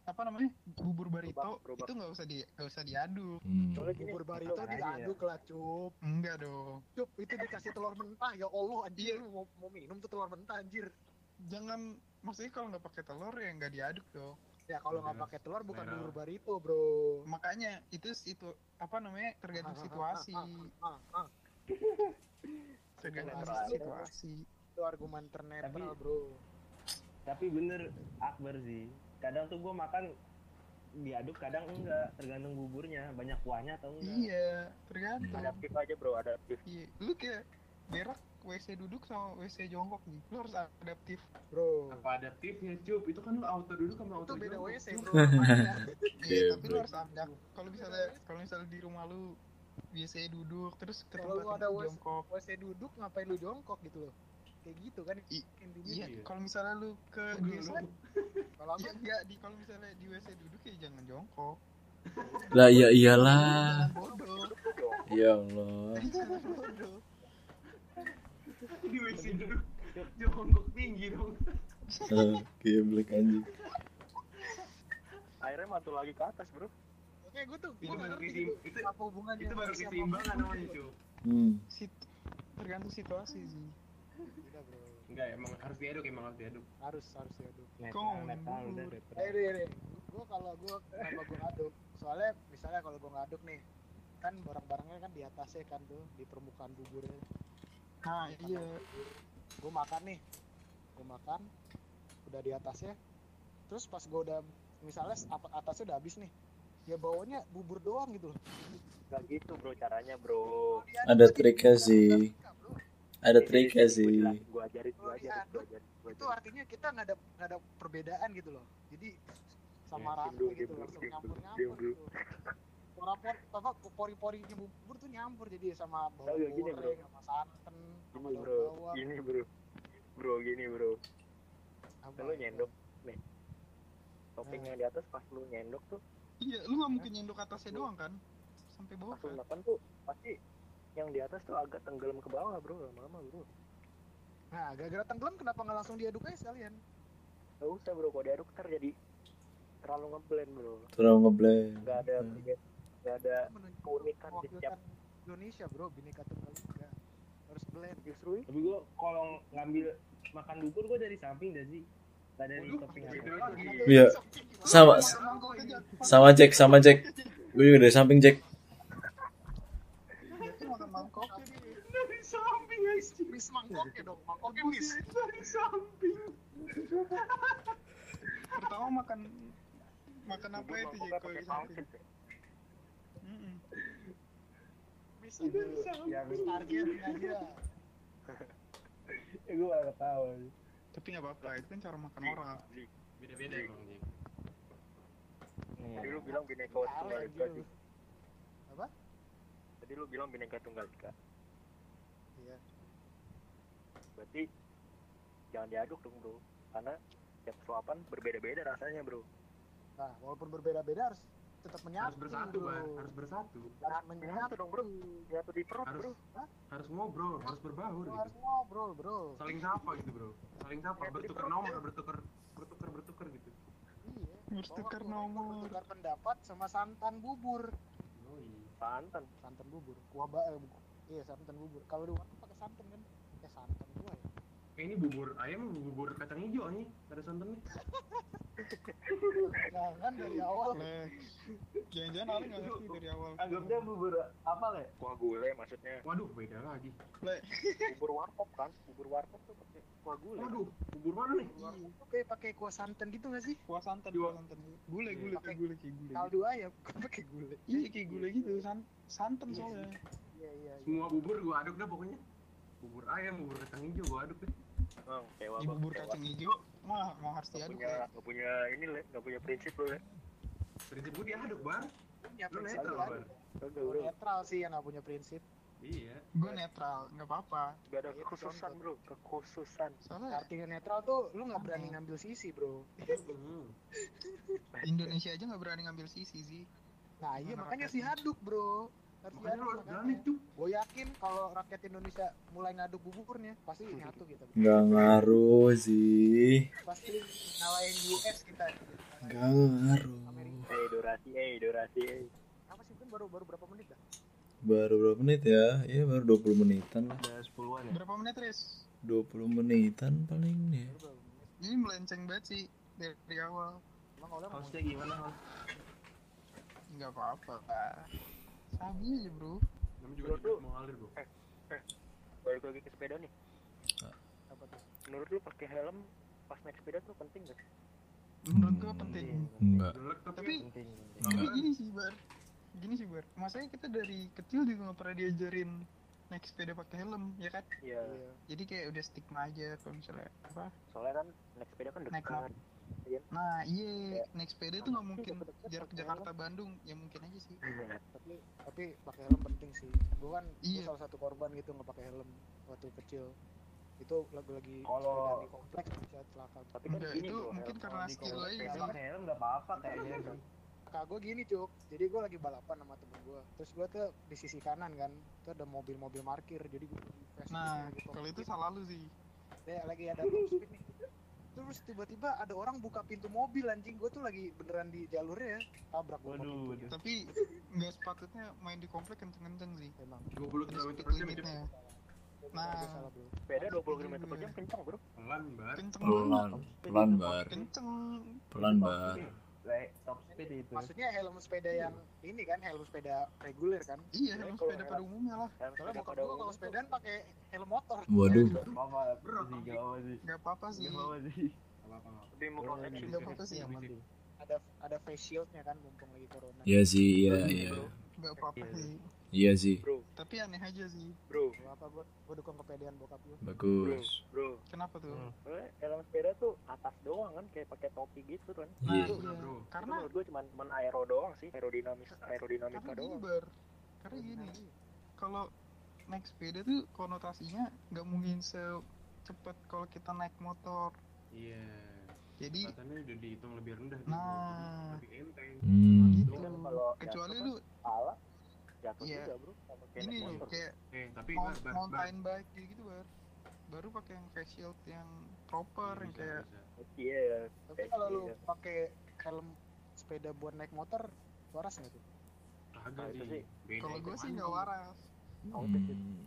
[SPEAKER 1] apa namanya? Bubur barito
[SPEAKER 3] Gerobak, gerobak.
[SPEAKER 1] itu nggak usah di nggak usah diaduk.
[SPEAKER 4] Hmm.
[SPEAKER 3] Soalnya gini,
[SPEAKER 6] Bubur barito
[SPEAKER 5] Aja ya.
[SPEAKER 6] diaduk lah cup.
[SPEAKER 1] Enggak dong.
[SPEAKER 6] Cup itu dikasih telur mentah. Ya Allah anjir. lu Mau, mau minum tuh telur mentah anjir.
[SPEAKER 1] Jangan maksudnya kalau nggak pakai telur ya nggak diaduk dong.
[SPEAKER 6] Ya kalau nggak
[SPEAKER 2] Bener.
[SPEAKER 6] pakai telur bukan
[SPEAKER 2] Bener.
[SPEAKER 6] bubur barito bro.
[SPEAKER 1] Makanya itu itu apa namanya? tergantung
[SPEAKER 6] Ah, ah,
[SPEAKER 1] situasi.
[SPEAKER 6] ah, Ah, ah, Iya,
[SPEAKER 1] Tergantung
[SPEAKER 3] Netral.
[SPEAKER 1] situasi.
[SPEAKER 6] itu argumen ternetral
[SPEAKER 5] Tapi-
[SPEAKER 6] bro.
[SPEAKER 5] Tapi bener Akbar sih. Kadang tuh gua makan diaduk kadang enggak tergantung buburnya banyak kuahnya atau enggak
[SPEAKER 1] Iya, tergantung.
[SPEAKER 3] adaptif aja bro, adaptif.
[SPEAKER 1] Iya, lu kayak berak WC duduk sama WC jongkok nih. Lu harus adaptif.
[SPEAKER 6] Bro.
[SPEAKER 2] Apa adaptifnya cup? Itu kan lu auto duduk sama
[SPEAKER 6] Itu
[SPEAKER 2] auto
[SPEAKER 6] beda
[SPEAKER 2] jongkok,
[SPEAKER 6] WC
[SPEAKER 2] Cup.
[SPEAKER 6] bro. namanya.
[SPEAKER 1] Iya, tapi lu
[SPEAKER 4] Geblek.
[SPEAKER 1] harus adaptif. Kalau misalnya kalau misalnya di rumah lu biasanya duduk terus ke
[SPEAKER 6] Kalau
[SPEAKER 1] tempat
[SPEAKER 6] lu ada
[SPEAKER 1] lu
[SPEAKER 6] WC
[SPEAKER 1] jongkok.
[SPEAKER 6] WC duduk ngapain lu jongkok gitu loh. Kayak gitu kan
[SPEAKER 1] I-
[SPEAKER 6] intinya.
[SPEAKER 1] Iya,
[SPEAKER 2] Iya.
[SPEAKER 1] kalau misalnya lu ke
[SPEAKER 2] Lu-
[SPEAKER 1] WC
[SPEAKER 2] lu-
[SPEAKER 6] Kalau apa?
[SPEAKER 1] Ya enggak, di kalau misalnya di WC duduk ya jangan jongkok.
[SPEAKER 4] Lah ya iyalah.
[SPEAKER 6] Nah.
[SPEAKER 1] Jangan bodoh.
[SPEAKER 4] Ya Allah.
[SPEAKER 1] Jangan bodoh.
[SPEAKER 2] di WC duduk jongkok tinggi dong
[SPEAKER 4] Geblek anjing.
[SPEAKER 3] Akhirnya mantul lagi ke atas bro.
[SPEAKER 6] Kayak gue tuh.
[SPEAKER 2] itu
[SPEAKER 6] Gue
[SPEAKER 2] baru
[SPEAKER 6] ngerti
[SPEAKER 2] keseim-
[SPEAKER 6] gitu.
[SPEAKER 2] itu
[SPEAKER 6] Apa hubungannya?
[SPEAKER 2] itu baru
[SPEAKER 6] sama siapa
[SPEAKER 2] keseimbangan
[SPEAKER 6] bubur?
[SPEAKER 2] namanya cuy
[SPEAKER 4] Hmm.
[SPEAKER 1] Sit- tergantung situasi sih.
[SPEAKER 6] Beda, bro.
[SPEAKER 2] enggak emang harus diaduk emang harus diaduk
[SPEAKER 6] Harus harus ya, diaduk.
[SPEAKER 1] Kau
[SPEAKER 5] netral netral
[SPEAKER 1] bubur.
[SPEAKER 5] udah netral
[SPEAKER 6] Eh, ini, ini. Gue kalau gue kenapa gue ngaduk? Soalnya misalnya kalau gue ngaduk nih, kan barang-barangnya kan di atasnya kan tuh di permukaan buburnya
[SPEAKER 1] nah iya
[SPEAKER 6] gue makan nih gue makan udah di atasnya terus pas gue udah misalnya s- apa- atasnya udah habis nih ya bawahnya bubur doang gitu loh
[SPEAKER 3] Gak gitu bro caranya bro.
[SPEAKER 4] Ada triknya sih. Ada triknya sih.
[SPEAKER 3] Gue ajarin, gue ajarin, gue ajarin. Gua
[SPEAKER 6] itu
[SPEAKER 3] ajarin.
[SPEAKER 6] artinya kita nggak ada nggak ada perbedaan gitu loh jadi sama
[SPEAKER 2] Ya,
[SPEAKER 6] rata
[SPEAKER 3] diem dulu, diem
[SPEAKER 6] gitu
[SPEAKER 3] dulu,
[SPEAKER 6] langsung
[SPEAKER 3] diem
[SPEAKER 6] nyampur
[SPEAKER 3] dulu,
[SPEAKER 6] nyampur
[SPEAKER 3] diem
[SPEAKER 6] gitu Pora-por, apa pori-porinya bubur tuh nyampur jadi sama bawang
[SPEAKER 3] Tahu gak gini, bro?
[SPEAKER 6] goreng, sama santan, sama
[SPEAKER 3] Gini bro,
[SPEAKER 6] daun bawang.
[SPEAKER 3] gini bro. Bro gini bro.
[SPEAKER 6] Apa?
[SPEAKER 3] Lu nyendok nih. Toppingnya di atas pas lu nyendok tuh
[SPEAKER 1] iya lu nggak mungkin nyendok atasnya doang kan sampai bawah
[SPEAKER 3] pas lu
[SPEAKER 1] kan
[SPEAKER 3] makan tuh pasti yang di atas tuh agak tenggelam ke bawah bro lama-lama bro.
[SPEAKER 6] Nah, gara-gara tenggelam kenapa nggak langsung diaduk aja sekalian?
[SPEAKER 3] Gak usah bro, kalau diaduk ntar jadi terlalu ngeblend bro.
[SPEAKER 4] Terlalu ngeblend.
[SPEAKER 3] Gak ada, gak ada
[SPEAKER 6] Itu menunjukkan
[SPEAKER 3] keunikan di
[SPEAKER 6] mewakilkan
[SPEAKER 3] setiap
[SPEAKER 6] kan Indonesia, Bro, Bhinneka Tunggal Ika. Harus blend.
[SPEAKER 3] justru
[SPEAKER 5] tapi gue kalau ngambil makan bubur gue dari samping dah sih gak dari
[SPEAKER 2] Waduh,
[SPEAKER 5] topping
[SPEAKER 2] gitu
[SPEAKER 5] apa
[SPEAKER 2] lagi.
[SPEAKER 4] Iya. Sama
[SPEAKER 6] Iya,
[SPEAKER 4] sama Jack, sama Jack. Gue juga dari samping Jack.
[SPEAKER 1] makan mangkok
[SPEAKER 6] Miss mangkoknya dong, mangkoknya miss.
[SPEAKER 1] pertama makan makan apa itu
[SPEAKER 3] mangkoknya
[SPEAKER 1] Jack kalau gitu,
[SPEAKER 3] pakai
[SPEAKER 1] di samping
[SPEAKER 3] pangsit ya.
[SPEAKER 1] Mm-mm.
[SPEAKER 6] Miss itu
[SPEAKER 3] Iya,
[SPEAKER 5] yang
[SPEAKER 6] targetnya dia.
[SPEAKER 5] gue malah ketawa
[SPEAKER 1] tapi nggak apa-apa itu kan cara makan orang
[SPEAKER 2] Beda-beda emang Ji.
[SPEAKER 3] Tadi
[SPEAKER 5] nih
[SPEAKER 3] lu bilang bineka
[SPEAKER 6] Kalah
[SPEAKER 3] tunggal ika
[SPEAKER 6] gitu.
[SPEAKER 3] Ji. Tadi lu bilang bineka tunggal ika.
[SPEAKER 6] Iya.
[SPEAKER 3] Berarti jangan diaduk dong bro, karena setiap suapan berbeda-beda rasanya bro.
[SPEAKER 6] Nah, walaupun berbeda-beda harus tetap menyatu.
[SPEAKER 2] Harus bersatu
[SPEAKER 6] bro.
[SPEAKER 2] man, harus bersatu.
[SPEAKER 6] harus menyatu.
[SPEAKER 3] dong bro, nyatu di perut
[SPEAKER 2] Harus
[SPEAKER 3] bro.
[SPEAKER 2] harus ngobrol, harus berbaur
[SPEAKER 6] Bro,
[SPEAKER 2] gitu.
[SPEAKER 6] harus ngobrol, Bro.
[SPEAKER 2] Saling sapa gitu bro, saling sapa, bertukar nomor, bertukar bertukar bertukar gitu.
[SPEAKER 6] Iya.
[SPEAKER 1] harus
[SPEAKER 6] Bawa
[SPEAKER 1] tukar
[SPEAKER 6] goreng,
[SPEAKER 1] nomor
[SPEAKER 6] tukar pendapat sama santan bubur.
[SPEAKER 2] Yoi.
[SPEAKER 3] Santan.
[SPEAKER 6] santan bubur kuah ba eh, bu- iya santan bubur kalau di warteg pakai santan kan eh santan gua ya
[SPEAKER 2] Eh, ini bubur ayam, bubur kacang hijau nih, ada santannya.
[SPEAKER 6] jangan dari awal
[SPEAKER 1] Lah, jangan-jangan Ali nggak ngerti dari awal
[SPEAKER 5] anggapnya bubur apa le
[SPEAKER 3] Kuah gulai maksudnya.
[SPEAKER 2] Waduh, beda lagi.
[SPEAKER 1] Iya.
[SPEAKER 3] Bubur warkop kan, bubur warkop tuh pakai kuah gulai.
[SPEAKER 2] Waduh, bubur mana nih?
[SPEAKER 6] Lu Iya, kayak pakai kuah santan gitu gak sih
[SPEAKER 1] kuah santan
[SPEAKER 2] Dua.
[SPEAKER 1] kuah santan gule
[SPEAKER 2] Iya.
[SPEAKER 1] gule kayak gule kayak gule
[SPEAKER 6] kaldu ayam kok pakai gulai
[SPEAKER 1] iya kayak gule gitu san- santan
[SPEAKER 6] Iya.
[SPEAKER 1] soalnya
[SPEAKER 6] iya iya iya
[SPEAKER 2] Semua bubur gua aduk dah pokoknya. Bubur ayam, bubur kacang hijau gua aduk deh.
[SPEAKER 3] Bang, kecewa
[SPEAKER 1] di
[SPEAKER 3] bang.
[SPEAKER 1] bubur
[SPEAKER 3] kecewa.
[SPEAKER 1] kacang hijau mah mau harus
[SPEAKER 3] Gak
[SPEAKER 1] diaduk
[SPEAKER 3] iya. punya,
[SPEAKER 1] ya
[SPEAKER 3] gak punya ini le, gak punya prinsip lu le.
[SPEAKER 2] Prinsip gua diaduk, Bar.
[SPEAKER 6] punya
[SPEAKER 2] Lu
[SPEAKER 6] prinsip
[SPEAKER 2] netral,
[SPEAKER 6] kan
[SPEAKER 2] Bar.
[SPEAKER 3] Kagak
[SPEAKER 6] Gua
[SPEAKER 3] bro,
[SPEAKER 6] netral sih yang gak punya prinsip
[SPEAKER 2] Iya.
[SPEAKER 1] gue netral nggak apa-apa
[SPEAKER 3] gak ada kekhususan bro, kekhususan.
[SPEAKER 1] soalnya
[SPEAKER 6] artinya netral tuh lu nggak berani ngambil sisi bro
[SPEAKER 2] Hmm.
[SPEAKER 1] Indonesia aja nggak berani ngambil sisi sih
[SPEAKER 6] nah iya
[SPEAKER 1] Gimana
[SPEAKER 6] makanya
[SPEAKER 1] rakyatnya?
[SPEAKER 6] sih haduk bro harus
[SPEAKER 2] Makanya lu harus
[SPEAKER 6] diaduk
[SPEAKER 2] berani tuh.
[SPEAKER 6] gue yakin kalau rakyat Indonesia mulai ngaduk buburnya pasti nyatu kita bro.
[SPEAKER 4] Gak ngaruh sih.
[SPEAKER 6] pasti ngalahin US kita Ngalahin
[SPEAKER 4] Gak ngaruh.
[SPEAKER 6] Amerika
[SPEAKER 3] Eh durasi, eh durasi, eh.
[SPEAKER 6] apa sih kan baru baru berapa menit dah
[SPEAKER 4] Baru berapa menit ya? Iya baru 20 menitan lah.
[SPEAKER 5] ada sepuluhan ya
[SPEAKER 1] berapa menit res
[SPEAKER 4] 20 menitan paling ya.
[SPEAKER 6] baru berapa menit
[SPEAKER 1] ini melenceng banget sih dari, dari awal
[SPEAKER 6] emang oleh mau
[SPEAKER 5] hostnya gimana host
[SPEAKER 1] nggak apa-apa lah sabi aja bro
[SPEAKER 2] Namanya juga
[SPEAKER 3] Bro,
[SPEAKER 2] hidup
[SPEAKER 3] lu-
[SPEAKER 2] mau ngalir, Bro.
[SPEAKER 3] Balik lagi ke sepeda nih.
[SPEAKER 6] apa tuh
[SPEAKER 3] Menurut lu pakai helm pas naik sepeda tuh penting Iya. gak?
[SPEAKER 1] menurut gue
[SPEAKER 4] Hmm.
[SPEAKER 1] penting
[SPEAKER 4] Enggak.
[SPEAKER 2] Jelek tapi
[SPEAKER 1] tapi
[SPEAKER 5] penting
[SPEAKER 1] tapi
[SPEAKER 4] Enggak.
[SPEAKER 1] gini sih bar gini sih bar masanya kita dari kecil juga nggak pernah diajarin naik sepeda pakai helm ya kan
[SPEAKER 3] Iya,
[SPEAKER 6] iya
[SPEAKER 1] jadi kayak udah stigma aja kalau misalnya apa
[SPEAKER 3] soalnya kan naik sepeda kan
[SPEAKER 1] Naik
[SPEAKER 3] dekat.
[SPEAKER 1] nah iya naik sepeda tuh nggak
[SPEAKER 3] Tapi
[SPEAKER 1] mungkin
[SPEAKER 3] deket-deket
[SPEAKER 1] jarak
[SPEAKER 3] pakai
[SPEAKER 1] Jakarta Bandung ya mungkin aja sih
[SPEAKER 3] Iya.
[SPEAKER 6] tapi tapi pakai helm penting sih gua kan gua
[SPEAKER 1] Iya.
[SPEAKER 6] salah satu korban gitu nggak pakai helm waktu kecil itu lagi-lagi
[SPEAKER 5] Kalau-
[SPEAKER 6] sepeda di kompleks bisa celaka
[SPEAKER 3] Tapi kan
[SPEAKER 1] Enggak,
[SPEAKER 3] gini
[SPEAKER 1] itu
[SPEAKER 3] bro,
[SPEAKER 1] mungkin
[SPEAKER 3] helm
[SPEAKER 1] karena
[SPEAKER 3] di
[SPEAKER 1] skill
[SPEAKER 3] kolong
[SPEAKER 1] aja
[SPEAKER 5] Gak
[SPEAKER 1] sih
[SPEAKER 5] pakai helm gak apa-apa
[SPEAKER 3] Iya.
[SPEAKER 5] kayaknya bro.
[SPEAKER 6] kakak gue gini cuk jadi gue lagi balapan sama temen gue terus gue tuh di sisi kanan kan itu ada mobil-mobil markir jadi gue
[SPEAKER 1] nah kalau itu salah lu sih
[SPEAKER 6] Ya, lagi gitu. ada top speed nih. Terus tiba-tiba ada orang buka pintu mobil anjing gue tuh lagi beneran di jalurnya ya. tabrak gua sama
[SPEAKER 5] Waduh,
[SPEAKER 6] pintunya.
[SPEAKER 1] tapi nggak sepatutnya main di komplek kenceng-kenceng sih
[SPEAKER 6] Emang.
[SPEAKER 2] 20
[SPEAKER 1] ada
[SPEAKER 2] km
[SPEAKER 1] speed
[SPEAKER 2] per jam itu
[SPEAKER 1] limitnya
[SPEAKER 6] Nah,
[SPEAKER 1] Nah.
[SPEAKER 6] gua salah bro.
[SPEAKER 3] sepeda 20 km per jam kencang bro.
[SPEAKER 2] pelan, Bar.
[SPEAKER 1] kenceng banget
[SPEAKER 4] Pelan, pelan bar.
[SPEAKER 1] kenceng
[SPEAKER 4] Pelan bar.
[SPEAKER 5] Like, top speed sepeda itu.
[SPEAKER 6] Maksudnya helm sepeda yang ini kan helm sepeda reguler kan?
[SPEAKER 1] Iya,
[SPEAKER 3] Jadi
[SPEAKER 1] helm
[SPEAKER 3] kalau
[SPEAKER 1] sepeda pada
[SPEAKER 3] helm-
[SPEAKER 1] umumnya lah.
[SPEAKER 3] Kan
[SPEAKER 6] Soalnya
[SPEAKER 3] sepeda
[SPEAKER 6] bokap
[SPEAKER 3] pada
[SPEAKER 6] gua kalau
[SPEAKER 3] umum tuh
[SPEAKER 6] sepedaan pakai helm motor.
[SPEAKER 4] Waduh.
[SPEAKER 5] Apa
[SPEAKER 2] Bro,
[SPEAKER 5] sih
[SPEAKER 2] tapi-
[SPEAKER 5] gak apa sih?
[SPEAKER 1] Gak apa-apa sih.
[SPEAKER 5] Gak apa sih?
[SPEAKER 2] Apa apa.
[SPEAKER 3] lebih mengkoneksi
[SPEAKER 1] Nggak apa-apa sih.
[SPEAKER 5] Yang penting.
[SPEAKER 6] Ada ada face shieldnya kan mumpung lagi corona.
[SPEAKER 4] Iya sih, iya, iya.
[SPEAKER 1] Gak apa-apa
[SPEAKER 5] Iya.
[SPEAKER 1] sih.
[SPEAKER 4] Iya sih.
[SPEAKER 3] bro
[SPEAKER 1] Tapi aneh aja sih.
[SPEAKER 3] bro
[SPEAKER 6] Gak apa gua, gua dukung kepedean bokap gua.
[SPEAKER 4] Bagus.
[SPEAKER 3] bro
[SPEAKER 1] Kenapa tuh?
[SPEAKER 5] Hmm.
[SPEAKER 3] Soalnya helm sepeda tuh atas doang kan kayak pakai topi gitu kan
[SPEAKER 1] Nah,
[SPEAKER 4] Iya.
[SPEAKER 1] iya.
[SPEAKER 2] Bro.
[SPEAKER 3] Itu
[SPEAKER 1] Karena
[SPEAKER 3] menurut gue cuman cuman aero doang sih aerodinamis aerodinamika
[SPEAKER 1] karena gini
[SPEAKER 3] doang
[SPEAKER 1] bar. Karena gini, kalau naik sepeda tuh konotasinya nggak mungkin secepat kalau kita naik motor.
[SPEAKER 2] Iya.
[SPEAKER 1] Jadi
[SPEAKER 2] Kelihatannya udah dihitung lebih rendah. gitu.
[SPEAKER 1] Nah.
[SPEAKER 2] Lebih enteng.
[SPEAKER 4] Hmm.
[SPEAKER 1] gitu.
[SPEAKER 3] Dan kalau
[SPEAKER 1] Kecuali
[SPEAKER 3] jatuh
[SPEAKER 1] lu
[SPEAKER 3] kan salah jatuh
[SPEAKER 1] Iya.
[SPEAKER 3] juga bro sama kayak
[SPEAKER 1] ini lu
[SPEAKER 3] naik motor
[SPEAKER 1] kayak
[SPEAKER 2] Eh tapi bar,
[SPEAKER 1] mount-
[SPEAKER 2] bar, bar.
[SPEAKER 1] mountain bike gitu, gitu bar. Baru pakai yang face shield yang proper yang
[SPEAKER 2] Bisa,
[SPEAKER 1] kayak
[SPEAKER 2] bisa.
[SPEAKER 3] iya
[SPEAKER 6] Tapi kalau lu pakai helm sepeda buat naik motor, waras nggak tuh?
[SPEAKER 2] Kagak
[SPEAKER 3] Nah, itu
[SPEAKER 2] sih.
[SPEAKER 3] sih.
[SPEAKER 2] Beda
[SPEAKER 1] kalau
[SPEAKER 2] itu
[SPEAKER 1] gue sih
[SPEAKER 2] anjing.
[SPEAKER 1] nggak waras.
[SPEAKER 4] Hmm.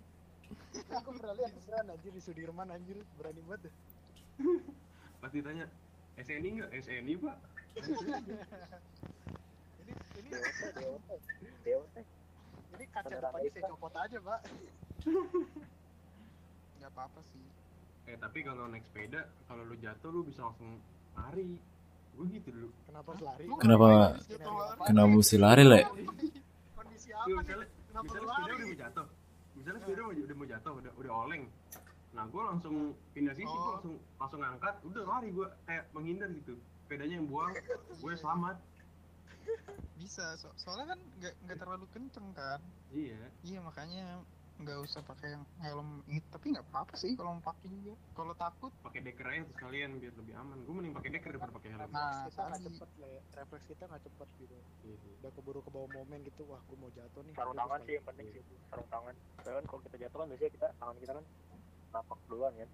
[SPEAKER 6] Aku pernah lihat beneran anjir di Sudirman anjir berani banget. dah.
[SPEAKER 2] Pas ditanya SNI nggak? SNI pak.
[SPEAKER 6] Ini ini
[SPEAKER 3] Dewa Dewa Dewa
[SPEAKER 6] ini kaca
[SPEAKER 3] Beneran
[SPEAKER 6] depannya
[SPEAKER 3] bisa.
[SPEAKER 6] saya copot aja pak.
[SPEAKER 1] Nggak apa-apa sih.
[SPEAKER 2] Eh tapi kalau naik sepeda, kalau lu jatuh lu bisa langsung lari. Gue gitu dulu.
[SPEAKER 6] Kenapa harus lari?
[SPEAKER 1] Lu
[SPEAKER 4] Kenapa-
[SPEAKER 1] ngapain sih jatuh lari?
[SPEAKER 4] Kenapa mesti lari, Le?
[SPEAKER 1] Iya,
[SPEAKER 6] Kondisi
[SPEAKER 2] Iya,
[SPEAKER 6] apa nih?
[SPEAKER 2] misalnya,
[SPEAKER 6] Kenapa lu
[SPEAKER 2] misalnya sepeda
[SPEAKER 6] lari?
[SPEAKER 2] udah mau jatuh. Misalnya sepeda
[SPEAKER 1] Iya.
[SPEAKER 2] udah udah mau jatuh, udah udah oleng. Nah gue langsung pindah sisi, gue
[SPEAKER 1] Oh.
[SPEAKER 2] langsung langsung angkat, udah lari gue kayak menghindar gitu. Sepedanya yang buang, gue selamat.
[SPEAKER 1] Bisa, so- soalnya kan nggak nggak terlalu kenceng kan.
[SPEAKER 2] Iya.
[SPEAKER 1] Iya makanya nggak usah pakai yang helm ini tapi nggak apa-apa sih kalau mau pakai juga kalau takut
[SPEAKER 2] Pakai deker aja tuh sekalian biar lebih aman. Gue mending pakai deker daripada pakai helm.
[SPEAKER 6] Refleks
[SPEAKER 1] Nah,
[SPEAKER 6] kita nggak
[SPEAKER 1] tadi.
[SPEAKER 6] cepet lah ya. Refleks kita nggak cepet gitu.
[SPEAKER 2] Gitu.
[SPEAKER 6] Udah keburu ke bawah momen gitu. Wah, gue mau jatuh nih.
[SPEAKER 3] sarung
[SPEAKER 6] Udah,
[SPEAKER 3] tangan
[SPEAKER 6] gua
[SPEAKER 3] sih yang penting sih itu, sarung tangan soalnya kan kalau kita jatuh kan biasanya kita tangan kita kan napak duluan kan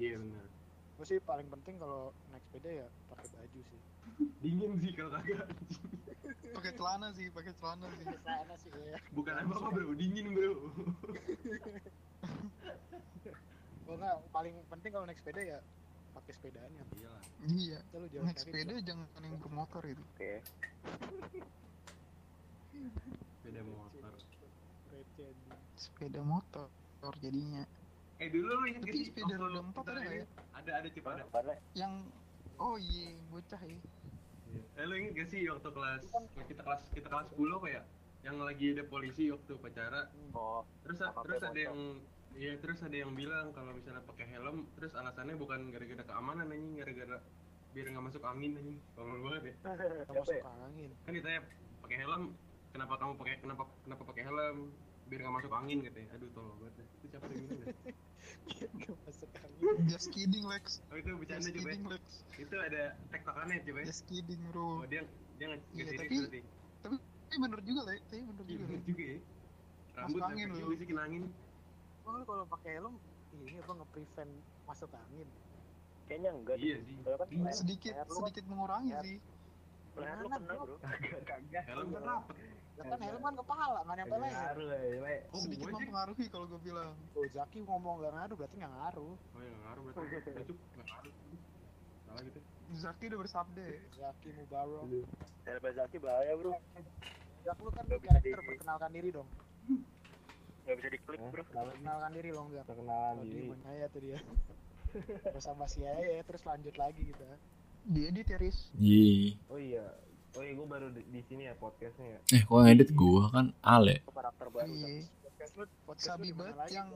[SPEAKER 2] Iya benar.
[SPEAKER 6] sekali. Gua sih paling penting kalau naik sepeda ya pakai baju sih.
[SPEAKER 2] Dingin sih kalau kagak.
[SPEAKER 1] pakai celana sih pakai celana sih
[SPEAKER 6] Sana sih ya.
[SPEAKER 2] Bukan
[SPEAKER 1] Iya,
[SPEAKER 2] apa apa bro, dingin bro.
[SPEAKER 6] Gua nggak paling penting kalau naik sepeda ya pakai sepedaan ya.
[SPEAKER 2] Iyalah.
[SPEAKER 1] iya
[SPEAKER 6] Kita lu jangan
[SPEAKER 1] naik
[SPEAKER 6] nyari
[SPEAKER 1] sepeda jangan yang bermotor itu
[SPEAKER 3] oke
[SPEAKER 1] Iya,
[SPEAKER 2] Sepeda motor.
[SPEAKER 6] receh, anjing.
[SPEAKER 1] sepeda motor motor jadinya
[SPEAKER 2] Eh dulu lu inget
[SPEAKER 1] Tapi
[SPEAKER 2] gak sih
[SPEAKER 1] sepeda
[SPEAKER 2] waktu
[SPEAKER 1] roda empat
[SPEAKER 2] kita
[SPEAKER 1] ada nggak
[SPEAKER 2] ini-
[SPEAKER 1] ya?
[SPEAKER 2] Ada ada cip ada.
[SPEAKER 3] karena
[SPEAKER 1] yang oh iya yang bocah ya
[SPEAKER 2] Eh lu inget gak sih waktu kelas
[SPEAKER 1] Iya, kan.
[SPEAKER 2] kita kelas kita kelas 10 apa ya? Yang lagi ada polisi waktu upacara
[SPEAKER 3] oh
[SPEAKER 2] terus
[SPEAKER 3] Apa
[SPEAKER 2] terus
[SPEAKER 3] kayak
[SPEAKER 2] ada yang Iya terus ada yang bilang kalau misalnya pakai helm terus alasannya bukan gara-gara keamanan anjing gara-gara biar nggak masuk angin anjing tolong banget ya
[SPEAKER 6] Nggak
[SPEAKER 3] siapa
[SPEAKER 6] masuk
[SPEAKER 3] ya
[SPEAKER 6] angin.
[SPEAKER 2] kan ditanya pakai helm
[SPEAKER 1] Hmm.
[SPEAKER 2] kenapa kamu pakai kenapa kenapa pakai helm biar nggak masuk angin katanya aduh tolong banget dah. itu siapa yang bilang ya?
[SPEAKER 6] Nggak Iya, masuk angin.
[SPEAKER 1] just kidding Lex
[SPEAKER 2] oh itu bercanda
[SPEAKER 1] just
[SPEAKER 2] coba
[SPEAKER 1] kidding Lex
[SPEAKER 2] itu ada tektokannya coba
[SPEAKER 1] just kidding
[SPEAKER 2] oh
[SPEAKER 1] bro
[SPEAKER 2] dia dia nggak
[SPEAKER 1] Iya,
[SPEAKER 2] serius
[SPEAKER 1] tapi-
[SPEAKER 2] berarti.
[SPEAKER 1] tapi bener juga Lex tapi bener
[SPEAKER 2] Iya,
[SPEAKER 1] juga
[SPEAKER 2] bener
[SPEAKER 1] Lex.
[SPEAKER 2] juga ya rambut
[SPEAKER 1] angin
[SPEAKER 2] sampai
[SPEAKER 1] lu.
[SPEAKER 2] juga sih kena angin
[SPEAKER 6] Emang lu kan kalau pakai helm ini apa nge-prevent masuk angin?
[SPEAKER 3] kayaknya enggak
[SPEAKER 2] iya
[SPEAKER 3] deh.
[SPEAKER 2] sih
[SPEAKER 3] soalnya kan leher-
[SPEAKER 1] sedikit
[SPEAKER 2] Iya.
[SPEAKER 3] leher lu kan-
[SPEAKER 1] sedikit mengurangi
[SPEAKER 3] Leher.
[SPEAKER 1] sih
[SPEAKER 3] leher lu
[SPEAKER 6] Mana,
[SPEAKER 3] kena
[SPEAKER 6] bro?
[SPEAKER 3] bro
[SPEAKER 5] Kagak.
[SPEAKER 2] helm kan rapet
[SPEAKER 6] Lah kan helm kan kepala, nggak nyampe leher.
[SPEAKER 5] Ngaruh lah, Le.
[SPEAKER 2] oh
[SPEAKER 1] sedikit
[SPEAKER 2] gue aja
[SPEAKER 1] mempengaruhi kalau gue bilang
[SPEAKER 6] Oh, Zaki ngomong nggak ngaruh berarti nggak ngaruh.
[SPEAKER 2] oh ya nggak ngaruh berarti itu nggak ngaruh salah gitu
[SPEAKER 1] Zaki udah bersabda ya.
[SPEAKER 6] Zaki Mubarok.
[SPEAKER 3] Daripada Zaki bahaya bro
[SPEAKER 6] Jak lu kan
[SPEAKER 3] Nggak bisa
[SPEAKER 6] karakter
[SPEAKER 3] di-
[SPEAKER 6] perkenalkan diri dong.
[SPEAKER 3] nggak bisa diklik
[SPEAKER 5] Hah?
[SPEAKER 3] bro
[SPEAKER 5] Kenapa sih?
[SPEAKER 6] Perkenalkan diri dong Jak.
[SPEAKER 5] Perkenalan
[SPEAKER 6] Tadi
[SPEAKER 5] diri.
[SPEAKER 6] punya ya, tuh dia. Bersama si Yaya terus lanjut lagi gitu.
[SPEAKER 1] dia di teris
[SPEAKER 4] Iya.
[SPEAKER 5] Oh iya. Oh iya, gue baru di, di sini ya podcastnya ya.
[SPEAKER 4] Eh, kok ngedit gua kan Ale.
[SPEAKER 3] itu karakter baru Zaki.
[SPEAKER 1] iya
[SPEAKER 6] Podcast lu podcast
[SPEAKER 1] Sabi
[SPEAKER 6] lu
[SPEAKER 1] banget yang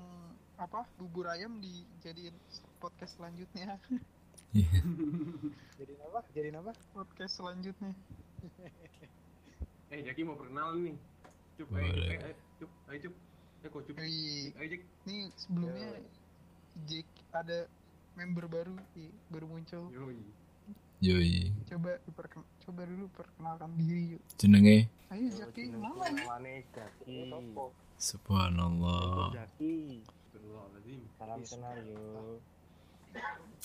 [SPEAKER 1] apa bubur ayam dijadiin podcast selanjutnya
[SPEAKER 6] jadi apa? Jadi apa?
[SPEAKER 1] podcast selanjutnya
[SPEAKER 2] eh Jaki mau perkenalan nih cup ayo cup
[SPEAKER 4] Boleh.
[SPEAKER 2] ayo, ayo cup ayo cup eh kok cup
[SPEAKER 1] Wih,
[SPEAKER 2] ayo Jack
[SPEAKER 1] ini sebelumnya Jack ada member baru iya, baru muncul
[SPEAKER 2] yoi
[SPEAKER 4] Yoi.
[SPEAKER 1] coba diperken- coba dulu perkenalkan diri yuk
[SPEAKER 4] Jenenge
[SPEAKER 1] ayo Jaki mana nih
[SPEAKER 5] Mana Zaki?
[SPEAKER 3] Ini toko.
[SPEAKER 5] Yo,
[SPEAKER 4] Subhanallah.
[SPEAKER 5] Zaki.
[SPEAKER 2] Astagfirullahaladzim
[SPEAKER 5] Salam
[SPEAKER 3] Iya,
[SPEAKER 6] Yes.
[SPEAKER 5] kenal yo.